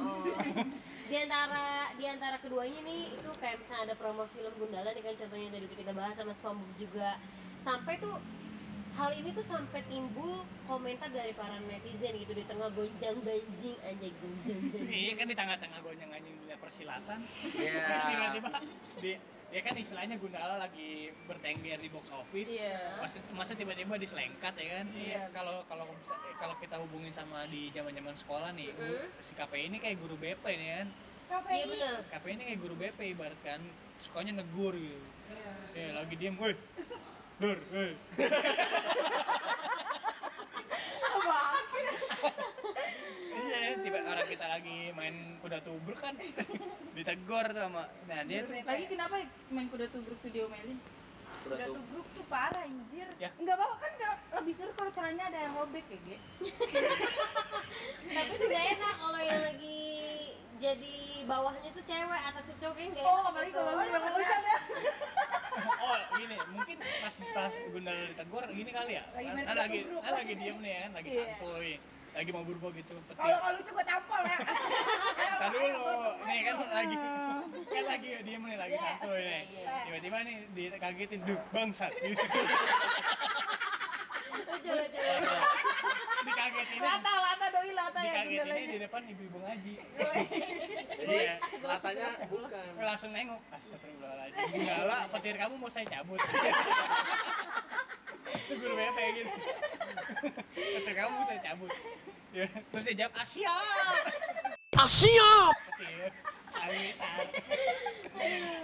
A: di antara di antara keduanya nih itu kayak misalnya ada promo film Gundala nih kan contohnya yang tadi udah kita bahas sama Spambuk juga sampai tuh hal ini tuh sampai timbul komentar dari para netizen gitu di tengah gonjang ganjing anjay gonjang
E: Iya
A: ganjing
E: kan di tengah-tengah gonjang anjing dunia persilatan.
D: Iya.
E: Terus tiba-tiba di ya kan istilahnya Gundala lagi bertengger di box office.
B: Iya.
E: Masa, masa tiba-tiba diselengkat ya kan?
B: Iya.
E: Kalau kalau bisa- kalau kita hubungin sama di zaman-zaman sekolah nih,
A: Mm.
E: si KPI ini kayak guru BP nih kan.
A: iya benar
E: KPI ini kayak guru BP ibarat kan sukanya negur gitu. Iya. lagi diem, woi. Dur, woi. Iya, tiba orang kita lagi main kuda tubruk kan ditegur tuh sama nah dia tuh
B: Lagi kenapa main kuda tubruk tuh diomelin?
D: Udah
B: Kuda
D: tuh.
B: tubruk tuh parah anjir.
E: Ya.
B: Enggak apa-apa kan nggak lebih seru kalau caranya ada yang robek ya, Ge.
A: tapi itu gak enak kalau yang lagi jadi bawahnya tuh cewek atasnya cowok kayaknya gak enak
B: Oh, apalagi
A: gitu.
B: kalau lu yang ucap ya.
E: oh gini mungkin pas pas Gundala ditegur gini kali ya
B: Lagi main
E: kan
B: kuda
E: lagi
B: tubruk.
E: kan lagi diem nih ya lagi
B: Iya.
E: santuy lagi mau berubah gitu petir
B: Kalau kalau lucu gua tampol ya.
E: Tar dulu, nih kan lagi kan lagi diem nih lagi
B: Iya.
E: santuy nih
A: Iya.
E: tiba-tiba nih dikagetin duh bangsat gitu
A: lucu lucu lucu.
E: dikagetin
B: Lata, lata doi lata ya
E: dikagetin
B: Gundala.
E: di depan ibu-ibu ngaji
A: Ibu,
E: Iya.
A: asik banget, asik
D: Rasanya
A: banget.
D: bukan.
E: Gue langsung nengok astagfirullahaladzim
F: Eh.
E: Gundala petir kamu mau saya cabut itu guru BP gitu petir kamu mau saya cabut ya. terus dia jawab Asia Asia Alitar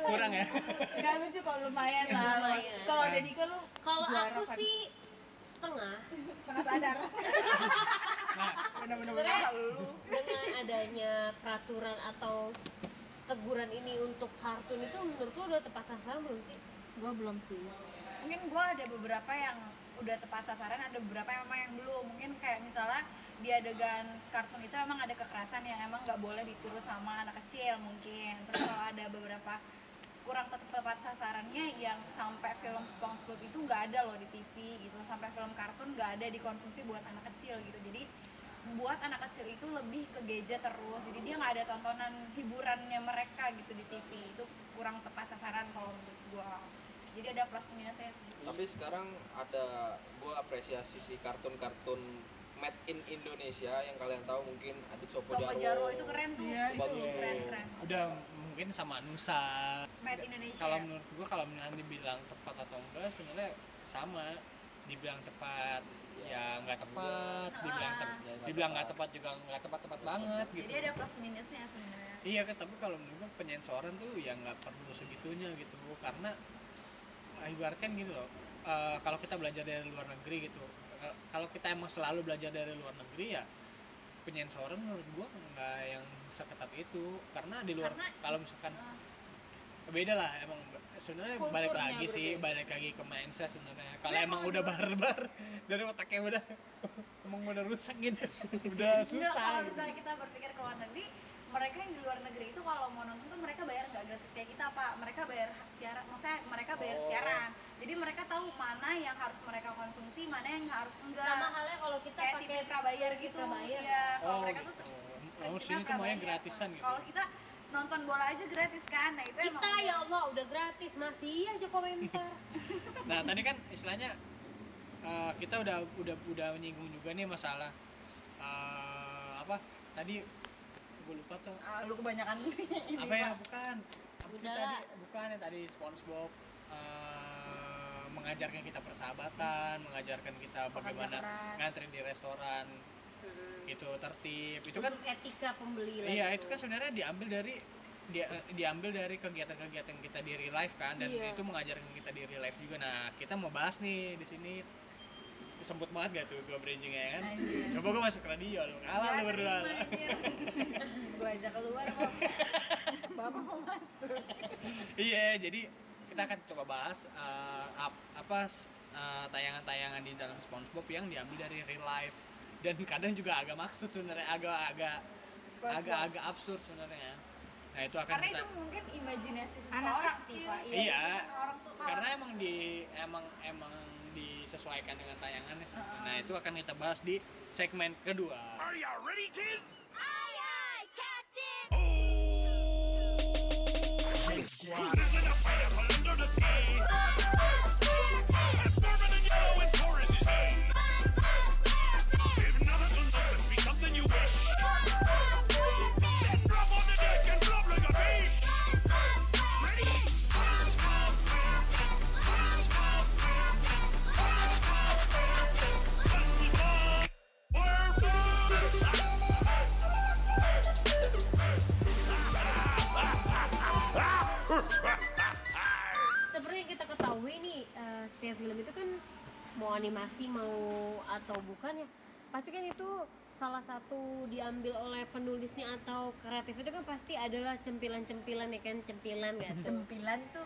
E: kurang ya
B: Enggak lucu kok lumayan lah.
A: Lumayan.
B: Kalau ada Dika lu
A: kalau
B: juara
A: aku
B: kan?
A: sih setengah
B: setengah sadar.
E: nah
B: Bener-bener lu.
A: dengan adanya peraturan atau teguran ini untuk kartun itu menurut lo udah tepat sasaran belum sih?
B: Gua belum sih.
F: mungkin gue ada beberapa yang udah tepat sasaran ada beberapa yang emang yang belum mungkin kayak misalnya di adegan kartun itu emang ada kekerasan yang emang nggak boleh ditiru sama anak kecil mungkin terus kalau ada beberapa kurang tep- tepat sasarannya yang sampai film SpongeBob itu nggak ada loh di TV gitu sampai film kartun nggak ada dikonsumsi buat anak kecil gitu jadi buat anak kecil itu lebih ke gadget terus jadi dia nggak ada tontonan hiburannya mereka gitu di TV itu kurang tepat sasaran kalau menurut gua jadi ada plus minusnya sih
D: Tapi sekarang ada gua apresiasi si kartun-kartun made in Indonesia yang kalian tahu mungkin Adit Sopo
F: Sopo Jarwo itu keren tuh
B: Iya,
F: itu
D: bagus tuh.
F: keren keren
E: udah mungkin sama Nusa
F: made Indonesia
E: kalau menurut gua kalau nanti dibilang tepat atau enggak sebenarnya sama dibilang tepat ya nggak tepat
F: Iya.
E: dibilang tep-
D: Ah.
E: dibilang nggak tepat juga nggak tepat tepat banget gitu
F: jadi ada plus minusnya sebenarnya
E: iya kan tapi kalau menurut gua penyensoran tuh ya nggak perlu segitunya gitu karena eh, ibaratkan gini loh eh, kalau kita belajar dari luar negeri gitu eh, kalau kita emang selalu belajar dari luar negeri ya penyensoran menurut gua nggak yang seketat itu karena di luar
F: Karena-
E: kalau misalkan
F: Ah.
E: beda lah emang sebenarnya
F: Kulturnya
E: balik lagi sih
F: berbeda.
E: balik lagi ke mindset sebenarnya kalau emang udah barbar dari otaknya udah emang udah rusak gitu
F: Enggak,
E: udah
F: kalau
E: susah gitu.
F: misalnya kita berpikir ke luar negeri mereka yang di luar negeri itu kalau mau nonton tuh mereka bayar nggak gratis kayak kita pak mereka bayar hak siaran maksudnya mereka
E: Oh.
F: bayar siaran jadi mereka tahu mana yang harus mereka konsumsi mana yang harus enggak
A: Sama halnya kalau kita
F: kayak TV
A: pakai
F: prabayar gitu
A: prabayar.
F: ya kalau
E: oh
F: mereka
E: gitu
F: tuh
E: oh
F: kita
E: sini tuh maunya
F: prabayar.
E: gratisan gitu
F: kalau kita nonton bola aja gratis kan nah itu
A: kita
F: emang
A: ya Allah udah gratis masih aja komentar.
E: nah tadi kan istilahnya eh, kita udah udah udah menyinggung juga nih masalah eh, apa tadi gue lupa tuh
B: Ah, lu kebanyakan ini.
E: apa ya bukan Apa sih
A: Udah.
E: tadi bukan yang tadi SpongeBob eh, mengajarkan kita persahabatan mengajarkan kita bagaimana
F: keras.
E: ngantri di restoran itu tertib itu kan
A: Untuk etika pembeli lah
E: iya
A: gitu.
E: itu kan sebenarnya diambil dari dia eh, diambil dari kegiatan-kegiatan kita di real life kan dan
B: Iya.
E: itu mengajarkan kita di real life juga nah kita mau bahas nih di sini semput banget gak tuh gua bridgingnya kan coba gua masuk radio lu kalah lu berdua lu.
F: gue ajak keluar kok bapak mau
E: Iya, jadi kita akan coba bahas eh, ap- apa s- eh, tayangan-tayangan di dalam SpongeBob yang diambil dari real life dan kadang juga agak maksud sebenarnya agak-agak agak-agak absurd sebenarnya. Nah, itu akan
F: karena
E: kita
F: itu mungkin imajinasi
B: Anak
F: seseorang sih
B: kecil.
F: pak
E: Iya.
F: mungkin orang tuh kalau
E: karena emang di emang emang disesuaikan dengan tayangannya sebenarnya. Nah, itu akan kita bahas di segmen kedua.
G: Are ya ready, kids? Aye, aye, Captain! Oh,
A: Seperti yang kita ketahui nih, eh, setiap film itu kan mau animasi mau atau bukan ya, pasti kan itu salah satu diambil oleh penulisnya atau kreatif itu kan pasti adalah cempilan-cempilan ya kan cempilan gitu.
C: Cempilan tuh.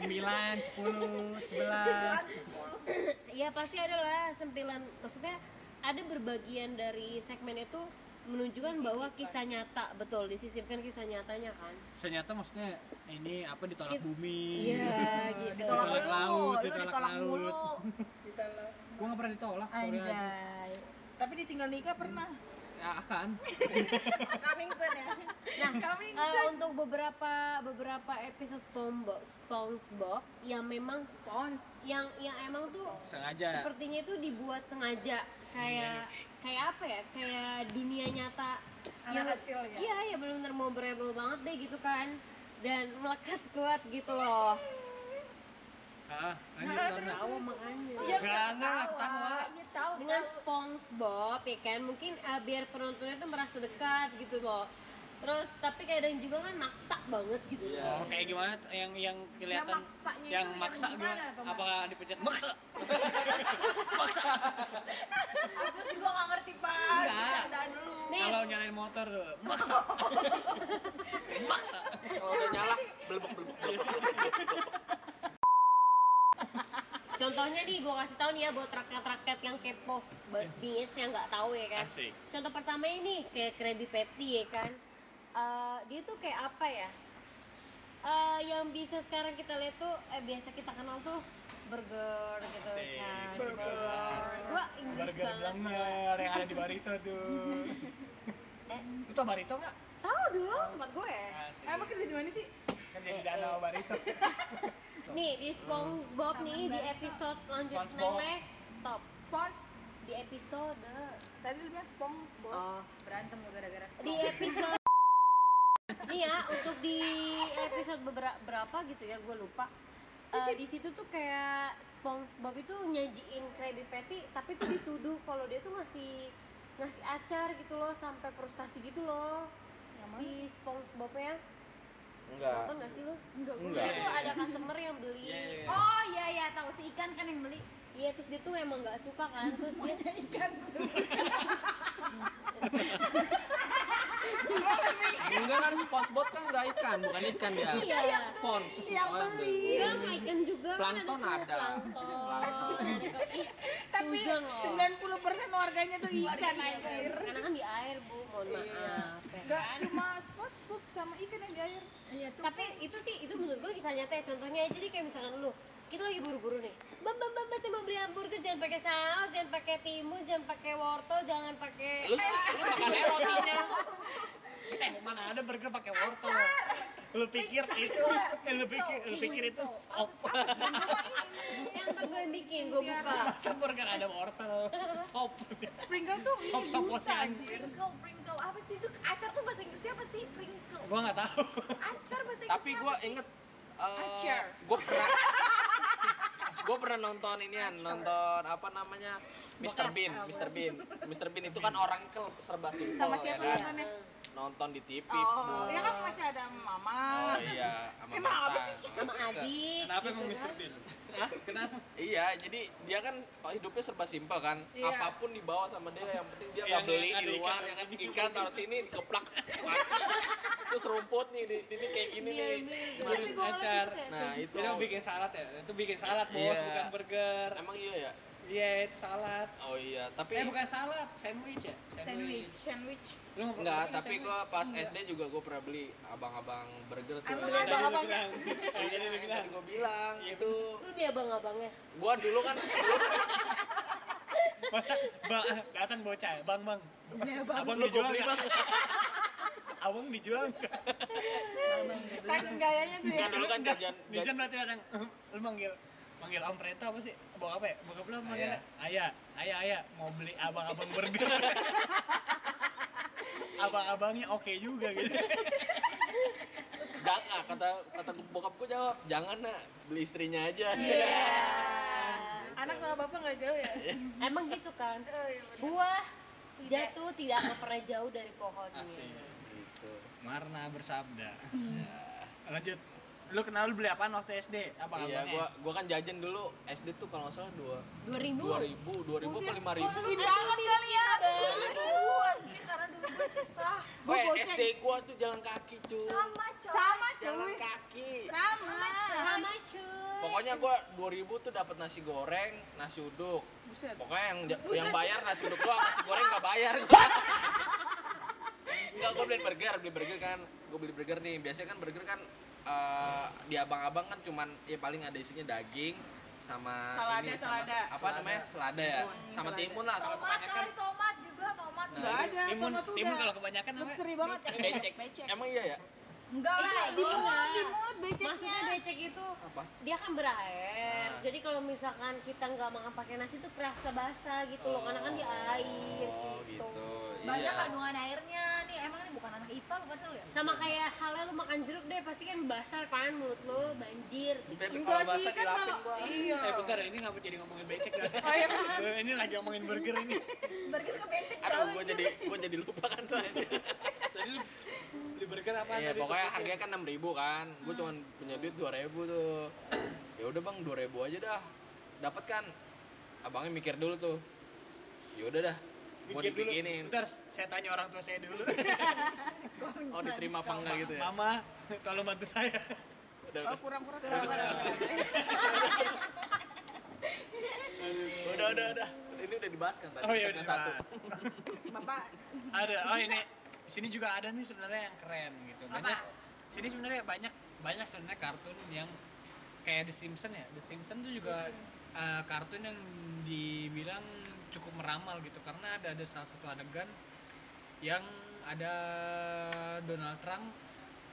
E: Cemilan, sepuluh, sebelas.
A: ya pasti adalah sempilan maksudnya ada berbagian dari segmen itu menunjukkan bahwa kisah nyata betul disisipkan kisah nyatanya kan
E: Senyata maksudnya ini apa ditolak
A: Is-
E: bumi.
A: iya gitu
C: Ditolak
E: Ditolak
C: mulu,
E: laut,
C: lu
E: ditolak
C: ditolak
E: laut.
C: mulu.
B: Ditolak.
E: Gua nggak pernah ditolak, sorry aja.
C: Anjay.
B: Tapi ditinggal nikah pernah.
E: Ya, akan.
C: Coming soon ya.
A: nah
B: Kami
A: eh, untuk beberapa beberapa episode SpongeBob SpongeBob yang memang
C: Pons.
A: yang yang emang tuh
E: Sengaja.
A: sepertinya itu dibuat sengaja kayak kayak apa ya kayak dunia nyata yang
F: kecil ya?
A: iya iya benar-benar mau berebel banget deh gitu kan dan melekat kuat gitu loh
E: Heeh. Anjir, Iya, karena
A: tahu makanya
E: Enggak, enggak ketawa.
C: Iya tahu.
A: dengan SpongeBob ya kan mungkin eh, biar penontonnya tuh merasa dekat gitu loh terus tapi kadang juga kan maksa banget gitu
E: Oh, kayak gimana t- yang yang kelihatan
C: maksanya
E: yang
C: itu yang
E: maksa gua
C: gimana, Pak?
E: apakah dipencet maksa?
C: Aku juga nggak ngerti pas. Bercandaan dulu.
A: nih
E: Kalau nyalain motor tuh maksa. maksa.
D: Kalau udah nyala, belebek belebek.
A: contohnya nih gue kasih tahu nih ya buat rakyat-rakyat yang kepo buat bingits yang nggak tahu ya kan
E: Iya. Asik.
A: contoh pertama ini kayak Krabby Patty ya kan Eh, dia tuh kayak apa ya Eh, yang bisa sekarang kita lihat tuh eh, biasa kita kenal tuh burger gitu
E: Asik.
A: kan
E: Burger.
A: gua Inggris
E: Burger
A: banget
E: Blenger yang ada di Barito tuh.
A: eh
E: Lu tau Barito nggak?
A: tahu dong tempat gue
E: Asik.
B: Emang kerja di mana sih?
E: Kan jadi danau Barito.
A: nih di SpongeBob nih di episode lanjut
E: SpongeBob.
A: nenek top
B: Spons.
A: di episode
B: Tadi lu bilang SpongeBob.
A: oh
C: Berantem lu gara-gara
A: di episode nih ya untuk di episode beberapa berapa gitu ya gue lupa Eh, di situ tuh kayak SpongeBob itu nyajiin Krabby Patty tapi tuh dituduh kalau dia tuh ngasih ngasih acar gitu loh sampai frustasi gitu loh si SpongeBob ya
D: Enggak.
A: nonton nggak sih lo?
D: Enggak.
A: Itu ada customer yang beli
D: Iya, iya, iya.
C: Oh iya iya tahu si ikan kan yang beli.
A: Iya terus dia tuh emang nggak suka kan terus dia
D: Enggak kan SpongeBob kan enggak ikan, bukan ikan ya. dia.
A: Iya.
D: Spons. Yang
A: dia ikan juga
D: Plankton
A: kan
D: ada.
A: plankton ada ke- ih, Susan loh
B: 90% warganya tuh ikan
A: Iya,
B: aja.
A: kan, karena kan di air bu mohon maaf ya
B: Gak
A: kan?
B: cuma SpongeBob sama ikan yang di air.
A: tapi itu sih itu menurut gue kisah nyata ya contohnya aja nih kayak misalkan lu kita lagi buru-buru nih bam bam bam masih mau beli hamburger jangan pakai saus jangan pakai timun jangan pakai wortel jangan pakai
D: Eh, Lu, lu makan aja rotinya.
E: Eh, mana ada burger pakai wortel. Lu pikir itu, eh, lu pikir, lu pikir itu sop.
A: yang ntar gue yang bikin gue buka
E: Masa burger ada wortel? Sop.
B: Sprinkle tuh ini
E: Sop-sop
B: busa
E: potongan.
B: anjir.
C: Pringkau, pringkau apa sih itu acar tuh bahasa Inggrisnya apa sih pringkau?
E: Gua nggak tahu.
C: Acar bahasa Inggrisnya.
D: Tapi gua
C: apa sih?
D: inget eh gua pernah gua pernah nonton ini nonton apa namanya Mr. Bean, Mr. Bean. Mr. Bean itu kan orang kel serba simpel
A: Oh,
B: Sama siapa
A: iya.
D: ya kan?
B: nontonnya?
D: Nonton di TV.
B: Oh,
D: Bu.
B: ya kan masih ada mama.
D: Oh iya, sama
B: Kenapa
D: mantan.
A: sama adik
E: Kenapa
A: gitu
E: emang
A: kan.
E: Mr. Bean?
D: Iya, jadi dia kan hidupnya serba simpel kan.
B: Iya.
D: Apapun dibawa sama dia yang penting dia
E: Yang-
D: nggak beli
E: yang
D: di
E: ada
D: luar
E: ikan.
D: ya kan ikan taruh sini dikeplak. Terus rumput nih di, ini kayak gini
B: Iya,
D: nih.
B: Terus gue ngeliat
E: acar.
B: itu kayak
D: Nah, itu
E: Itu bikin salad ya? Itu bikin salad, bos,
D: Iya.
E: bukan burger.
D: emang iya ya?
E: Iya, itu salad.
D: Oh iya, tapi
E: Eh, bukan salad, sandwich ya?
B: sandwich, sandwich.
E: Lu nggak pernah
D: Enggak,
E: makan
D: tapi
E: sandwich?
D: gua pas SD juga gua pernah beli abang-abang burger tuh. Iya,
E: Iya,
B: Emang ada?
E: tadi lu
B: abang-abang.
E: bilang. Iya, Tadi lu bilang.
D: Gue bilang itu
A: lu dia abang-abangnya
D: gua dulu kan
E: Masa ba- datang ah, bocah, ya? bang bang. Abang
D: lu
E: lu
D: gua
E: jual
D: beli
E: ya?
D: bang.
E: Awang dijual nggak?
B: Saking gayanya tuh ya.
D: kan dulu kan jajan
E: Dijan berarti datang. Lu manggil manggil om Preta apa sih? Bawa apa ya? Bawa belum manggil? Ayah, ayah, ayah mau beli abang-abang burger. Abang-abangnya oke juga gitu.
D: jangan ah, kata kata bokapku jawab jangan nak beli istrinya aja
B: Iya. Anak sama bapak nggak jauh ya.
A: Emang gitu kan? Buah jatuh tidak akan pernah jauh dari pohonnya.
D: gitu
E: Marna bersabda. Hmm. Lanjut. Lu kenal lu beli apaan waktu SD? Apa
D: iya gua gua kan jajan dulu SD tuh kalau nggak salah dua
C: dua ribu
D: dua ribu dua ribu ke lima ribu Iya.
B: banget kali ya.
C: ribuan sih karena dulu gue susah
D: Weh, SD gua tuh jalan kaki cuy
C: sama coy
B: Sama
D: jalan
B: cuy.
D: kaki
B: Sama.
A: Sama cuy.
D: pokoknya gua 2000 tuh dapat nasi goreng nasi uduk
B: Buset.
D: pokoknya yang yang bayar nasi uduk doang nasi goreng nggak bayar Enggak, gue beli burger, beli burger kan Gue beli burger nih, biasanya kan burger kan eh, Di abang-abang kan cuman, ya paling ada isinya daging Sama
B: Selada,
D: ini, sama
B: selada.
D: apa namanya, selada ya Sama
B: selada.
D: timun lah, sama
C: tomat
D: kebanyakan
C: kali tomat juga tomat
B: Nggak ada
E: Timun,
B: sama
E: timun kalau
B: tuh.
E: kebanyakan apa?
B: Luxury banget. ya.
D: Becek, emang iya ya?
C: enggak lah
A: Iya,
C: di
A: iya.
C: mulut di mulut
B: Mulut beceknya.
A: Maksudnya becek itu
D: Apa?
A: dia kan berair.
D: Nah.
A: Jadi kalau misalkan kita nggak makan pakai nasi tuh kerasa basah gitu loh karena kan dia air
D: Oh
A: gitu.
D: gitu,
C: banyak
F: kan,
D: iya
C: kandungan airnya nih emang ini bukan anak ipa bukan lu ya
A: Sama kayak halnya lu makan jeruk deh pasti kan basah kan mulut lu banjir.
D: Beb,
B: Enggak
D: kalau bahasa
B: sih, kan
D: dilapin
B: kalau-
D: gua
B: Iya.
E: Eh bentar, ini ngapa jadi ngomongin becek dah? Eh,
B: Oh iya.
E: ini lagi ngomongin burger ini.
C: burger ke becek
D: Aduh, gue jadi, gue jadi lupa kan tuh
E: Tadi lu beli burger apa?
D: Iya,
E: tadi?
D: pokoknya harganya kan 6000 kan. Gue cuman punya duit 2000 tuh. Ya udah Bang, 2000 aja dah. Dapat kan? Abangnya mikir dulu tuh. Ya udah dah. Mau
E: Mikir dulu.
D: dibikinin. Iya.
E: Bentar, saya tanya orang tua saya dulu.
D: Oh, diterima apa enggak gitu ya?
E: Mama, tolong bantu saya.
D: Udah,
B: Oh
D: udah.
B: kurang-kurang. kurang-kurang.
D: Udah, udah, udah. Ini udah dibahas kan tadi.
E: Oh iya,
D: segmen
E: udah
D: satu.
E: dibahas.
B: Bapak
E: ada oh ini di sini juga ada nih sebenarnya yang keren gitu banyak di sini sebenarnya banyak banyak sebenarnya kartun yang kayak The Simpsons ya The Simpsons tuh juga eh, kartun yang dibilang cukup meramal gitu karena ada ada salah satu adegan yang ada Donald Trump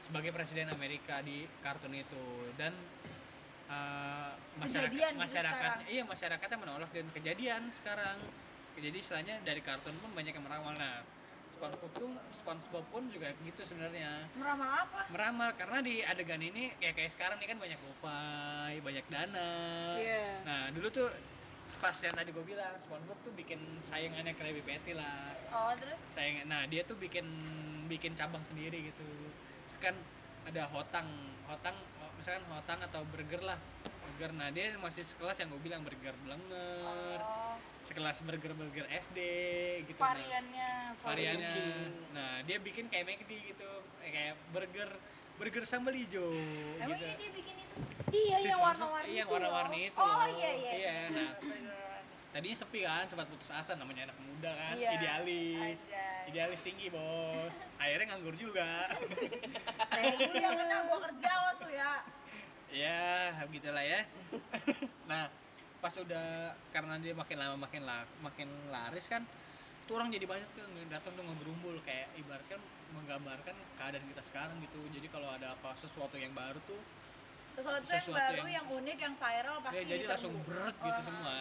E: sebagai presiden Amerika di kartun itu dan eh, masyarakat
C: Kejadian gitu
E: masyarakatnya-
C: sekarang.
E: iya masyarakatnya menolak dan kejadian sekarang jadi istilahnya dari kartun pun banyak yang meramal nah SpongeBob tuh SpongeBob pun juga gitu sebenarnya
C: meramal apa
E: meramal karena di adegan ini kayak kayak sekarang nih kan banyak Popeye, banyak Dana.
B: Iya.
E: Nah dulu tuh pas yang tadi gue bilang SpongeBob tuh bikin sayangannya Krabby Patty lah.
C: oh terus
E: Sayang, nah dia tuh bikin bikin cabang sendiri gitu. Kan ada hotang, hotang oh, misalkan hotang atau burger lah burger. Nah dia masih sekelas yang gue bilang burger blenger,
C: Oh.
E: sekelas burger burger SD gitu. Nah,
B: variannya.
E: variannya. Nah, dia bikin kayak McD gitu, eh, kayak burger burger sambal hijau
C: emang
E: gitu.
C: ini dia bikin itu
B: Iya
E: Si
B: iya
E: Spongebob-
B: warna-warni.
E: Iya,
B: itu
E: warna-warni
B: loh.
E: itu.
C: Oh, iya, iya.
E: nah. Tadinya sepi kan, sempat putus asa namanya anak muda kan,
C: Iya,
E: idealis.
C: anjay.
E: Idealis tinggi, Bos. Akhirnya nganggur juga.
C: Lu yang menang gua kerja los lu ya
E: ya begitulah ya nah pas udah karena dia makin lama makin la- makin laris kan tuh orang jadi banyak tuh yang datang tuh ngegerumbul kayak ibaratkan menggambarkan keadaan kita sekarang gitu jadi kalau ada apa sesuatu yang baru tuh
C: sesuatu,
E: Sesuatu
C: yang baru
E: yang-
C: yang, unik yang viral pasti
E: ya jadi
C: diserbu.
E: langsung beret gitu
C: Oh,
E: semua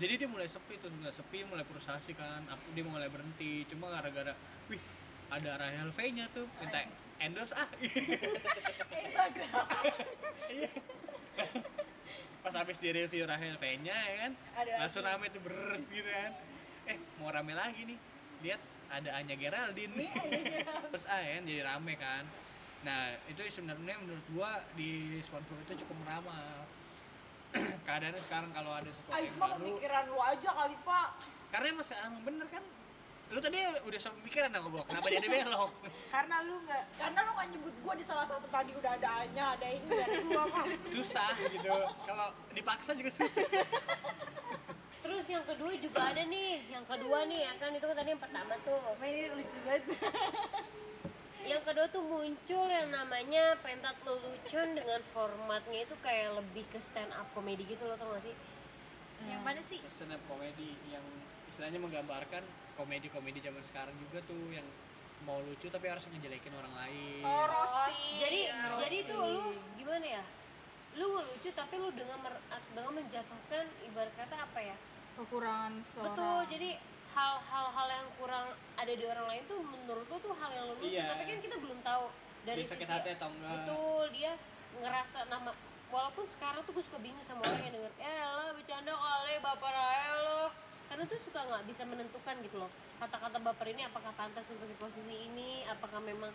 E: jadi dia mulai sepi tuh mulai sepi mulai frustasi kan Ap- dia mulai berhenti cuma gara-gara wih ada Rahel V nya tuh minta endorse ah
C: Instagram
E: Iya. pas habis di review Rahel Penya ya kan
C: Ada
E: langsung rame tuh beret gitu kan eh mau rame lagi nih lihat ada Anya Geraldine terus ah ya kan jadi rame kan nah itu sebenarnya menurut gua di SpongeBob itu cukup meramal keadaannya sekarang kalau ada sesuatu
B: Ah,
E: yang
B: itu mah
E: baru
B: pemikiran lu aja kali, Pak.
E: karena emang se- emang bener kan lu tadi udah sampai pikiran aku bawa kenapa jadi belok
B: Karena lu nggak
C: karena lu gak nyebut gua di salah satu tadi udah ada Anya ada ini ada gua kan
E: susah gitu kalau dipaksa juga susah
A: Terus yang kedua juga ada nih, yang kedua nih ya kan itu kan tadi yang pertama tuh.
C: ini lucu banget
A: Yang kedua tuh muncul yang namanya pentat lelucon dengan formatnya itu kayak lebih ke stand up comedy gitu loh tau gak sih?
C: yang mana sih
E: stand up comedy yang istilahnya menggambarkan komedi-komedi zaman sekarang juga tuh yang mau lucu tapi harus ngejelekin orang lain
B: Oh,
C: Iya,
B: roasting.
A: Oh, jadi
B: Ya,
A: jadi tuh lu gimana ya lu ngelucu tapi lu dengan mer- dengan menjatuhkan ibarat kata apa ya
B: kekurangan seorang
A: betul jadi hal-hal hal yang kurang ada di orang lain tuh menurut lu tuh hal yang lu lucu
E: Iya.
A: tapi kan kita belum tahu dari
E: Dia sakit
A: sisi
E: hati atau enggak.
A: betul dia ngerasa nama walaupun sekarang tuh gue suka bingung sama orang yang denger eh lah bercanda kali baper aja lo karena tuh suka nggak bisa menentukan gitu loh kata-kata baper ini apakah pantas untuk di posisi ini apakah memang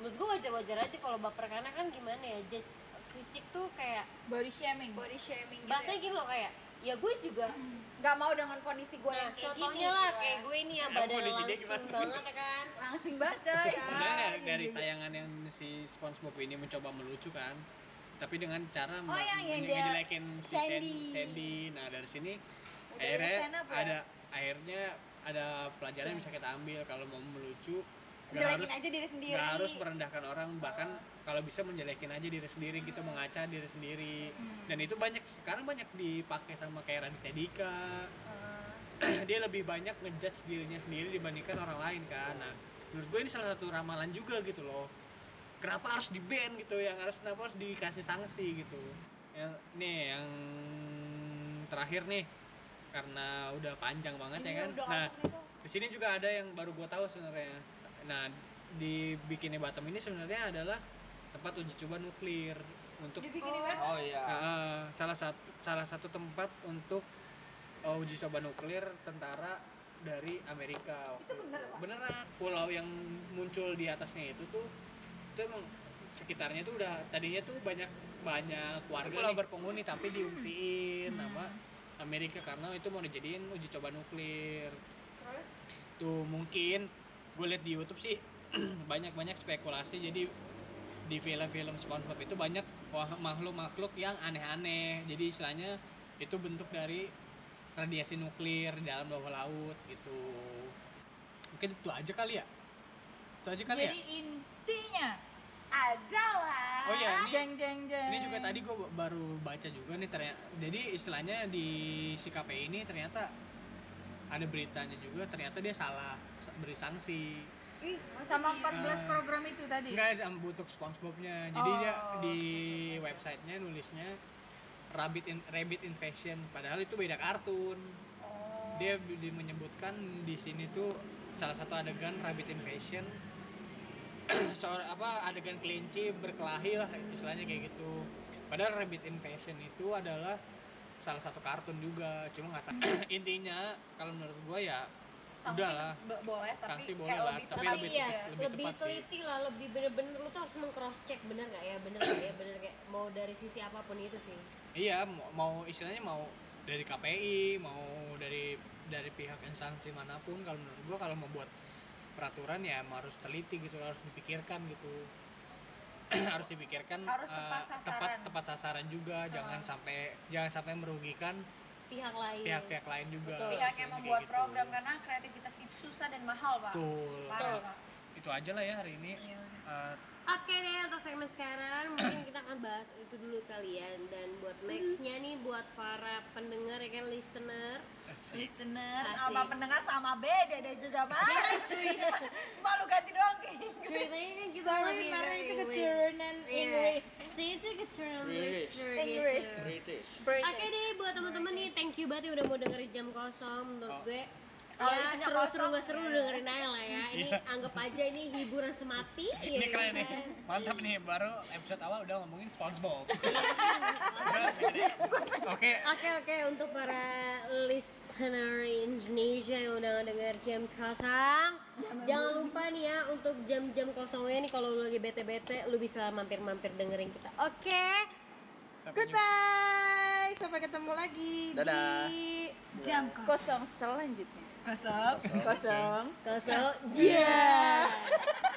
A: menurut gue wajar-wajar aja kalau baper karena kan gimana ya judge fisik tuh kayak
B: body shaming.
F: body shaming gitu
A: bahasanya gini loh kayak ya gue juga
F: ya. Gak mau dengan kondisi gue
A: Nah,
F: yang kayak gini
A: contohnya lah
F: gitu
A: kayak gue ini yang badan
E: kondisi dia
A: langsing
E: gimana?
A: banget ya kan.
F: langsing baca ya
E: Sebenarnya dari tayangan yang si SpongeBob ini mencoba melucu kan, tapi dengan
F: Oh,
E: cara
F: yang- yang dia-
E: ngejelekin si Sandy.
F: Sandy.
E: Sandy. Nah dari sini
F: Udah
E: akhirnya
F: jadi stand up ya?
E: ada akhirnya ada pelajaran yang bisa kita ambil kalau mau melucu. nggak
F: jelekin aja diri sendiri
E: nggak harus merendahkan orang bahkan kalau bisa menjelekin aja diri sendiri gitu mengaca diri sendiri dan itu banyak sekarang banyak dipakai sama kayak Raditya Dika dia lebih banyak ngejudge dirinya sendiri dibandingkan orang lain kan nah menurut gue ini salah satu ramalan juga gitu loh kenapa harus di ban gitu yang harus kenapa harus dikasih sanksi gitu yang nih yang terakhir nih karena udah panjang
C: Iya,
E: banget
F: Iya,
E: ya kan nah di sini juga ada yang baru gue tahu sebenarnya nah di bikini Batam ini sebenarnya adalah tempat uji coba nuklir untuk
F: dibikin oh.
D: Oh iya.
E: Heeh, salah satu salah satu tempat untuk uh, uji coba nuklir tentara dari Amerika. Itu Beneran pulau yang muncul di atasnya itu tuh itu emang sekitarnya tuh udah tadinya tuh banyak banyak warga Hmm. pulau berpenghuni tapi diungsiin nama Amerika karena itu mau dijadiin uji coba nuklir. Tuh mungkin gue liat di YouTube sih banyak-banyak spekulasi jadi di film-film SpongeBob itu banyak wah- makhluk-makhluk yang aneh-aneh. Jadi istilahnya itu bentuk dari radiasi nuklir di dalam bawah laut gitu. Mungkin itu aja kali ya. Itu aja kali
B: Jadi
E: ya.
B: intinya
F: adalah
E: Oh ya, ini,
B: jeng jeng jeng.
E: ini juga tadi gue baru baca juga nih ternyata. Jadi istilahnya di si KPI ini ternyata ada beritanya juga ternyata dia salah sa- beri sanksi.
B: Ih, sama 14 program itu tadi.
E: Enggak ada butuh SpongeBob-nya. Jadi dia
B: Oh.
E: di websitenya nulisnya rabbit in, rabbit infection padahal itu beda kartun.
B: Oh.
E: Dia b- di- menyebutkan di sini tuh salah satu adegan rabbit infection seorang apa adegan kelinci berkelahi lah istilahnya kayak gitu. Padahal rabbit infection itu adalah salah satu kartun juga, cuma nggak tahu. intinya kalau menurut gua ya
F: Sanksi
E: udahlah
F: bo- boleh tapi
E: Sanksi boleh
F: kayak
E: lah,
F: lebih
E: tapi
A: Tapi
F: tepat.
E: lebih
A: iya,
E: tepat-
A: lebih,
E: lebih tepat sih.
A: teliti lah, lebih bener-bener lu tuh harus meng-cross check bener nggak ya, bener nggak ya, bener kayak mau dari sisi apapun itu sih.
E: Iya, mau- mau istilahnya mau dari KPI, mau dari dari pihak instansi manapun kalau menurut gua kalau membuat peraturan ya emang harus teliti gitu, harus dipikirkan gitu. harus dipikirkan
F: Harus
E: eh,
F: tepat
E: tepat
F: sasaran. Ah.
E: tepat sasaran juga, jangan sampai jangan sampai merugikan
A: Pihak lain.
E: pihak-pihak lain juga.
F: Iya. pihak yang
E: istilahnya
F: membuat
E: kayak gitu.
F: program karena kreativitas itu susah dan mahal pak
E: Betul.
F: Parah, Iya. Pak.
E: Itu aja lah ya hari ini. Eh,
A: Oke deh untuk segmen sekarang mungkin kita akan bahas itu dulu kalian dan buat
B: Mhm.
A: nextnya nih buat para pendengar ya kan listener
F: listener
A: Asik.
F: sama pendengar sama beda deh juga pak cuma lu ganti doang kayaknya
A: ceritanya kan kita
B: Sorry,
A: lagi
B: karena
A: bahas
B: itu
A: English.
B: keturunan
A: Iya.
B: Inggris.
A: sih itu keturunan
D: Inggris.
A: Inggris.
B: Inggris.
D: British.
A: Oke deh buat teman-teman nih, thank you banget ya udah mau dengerin jam kosong menurut
E: Oh.
A: gue.
F: Kalau
A: ya
F: isinya
A: seru-seru
F: kosong,
A: nggak seru
F: ya.
A: dengerin aja lah ya. Ini anggap aja ini hiburan semati. ya
E: ini keren nih.
A: kan?
E: Mantap nih, baru episode awal udah ngomongin SpongeBob. Udah, gitu. Oke,
A: Oke oke untuk para listener Indonesia yang udah denger jam kosong, jangan lupa nih ya untuk jam-jam kosongnya nih kalau lu lagi bete-bete, lu bisa mampir-mampir dengerin kita. Oke.
E: sampai jumpa.
B: Goodbye. Sampai ketemu lagi
D: Dadah.
B: di
F: jam
B: kosong selanjutnya.
F: kosong
B: Kosong.
A: Iya. Kosong. Yeah.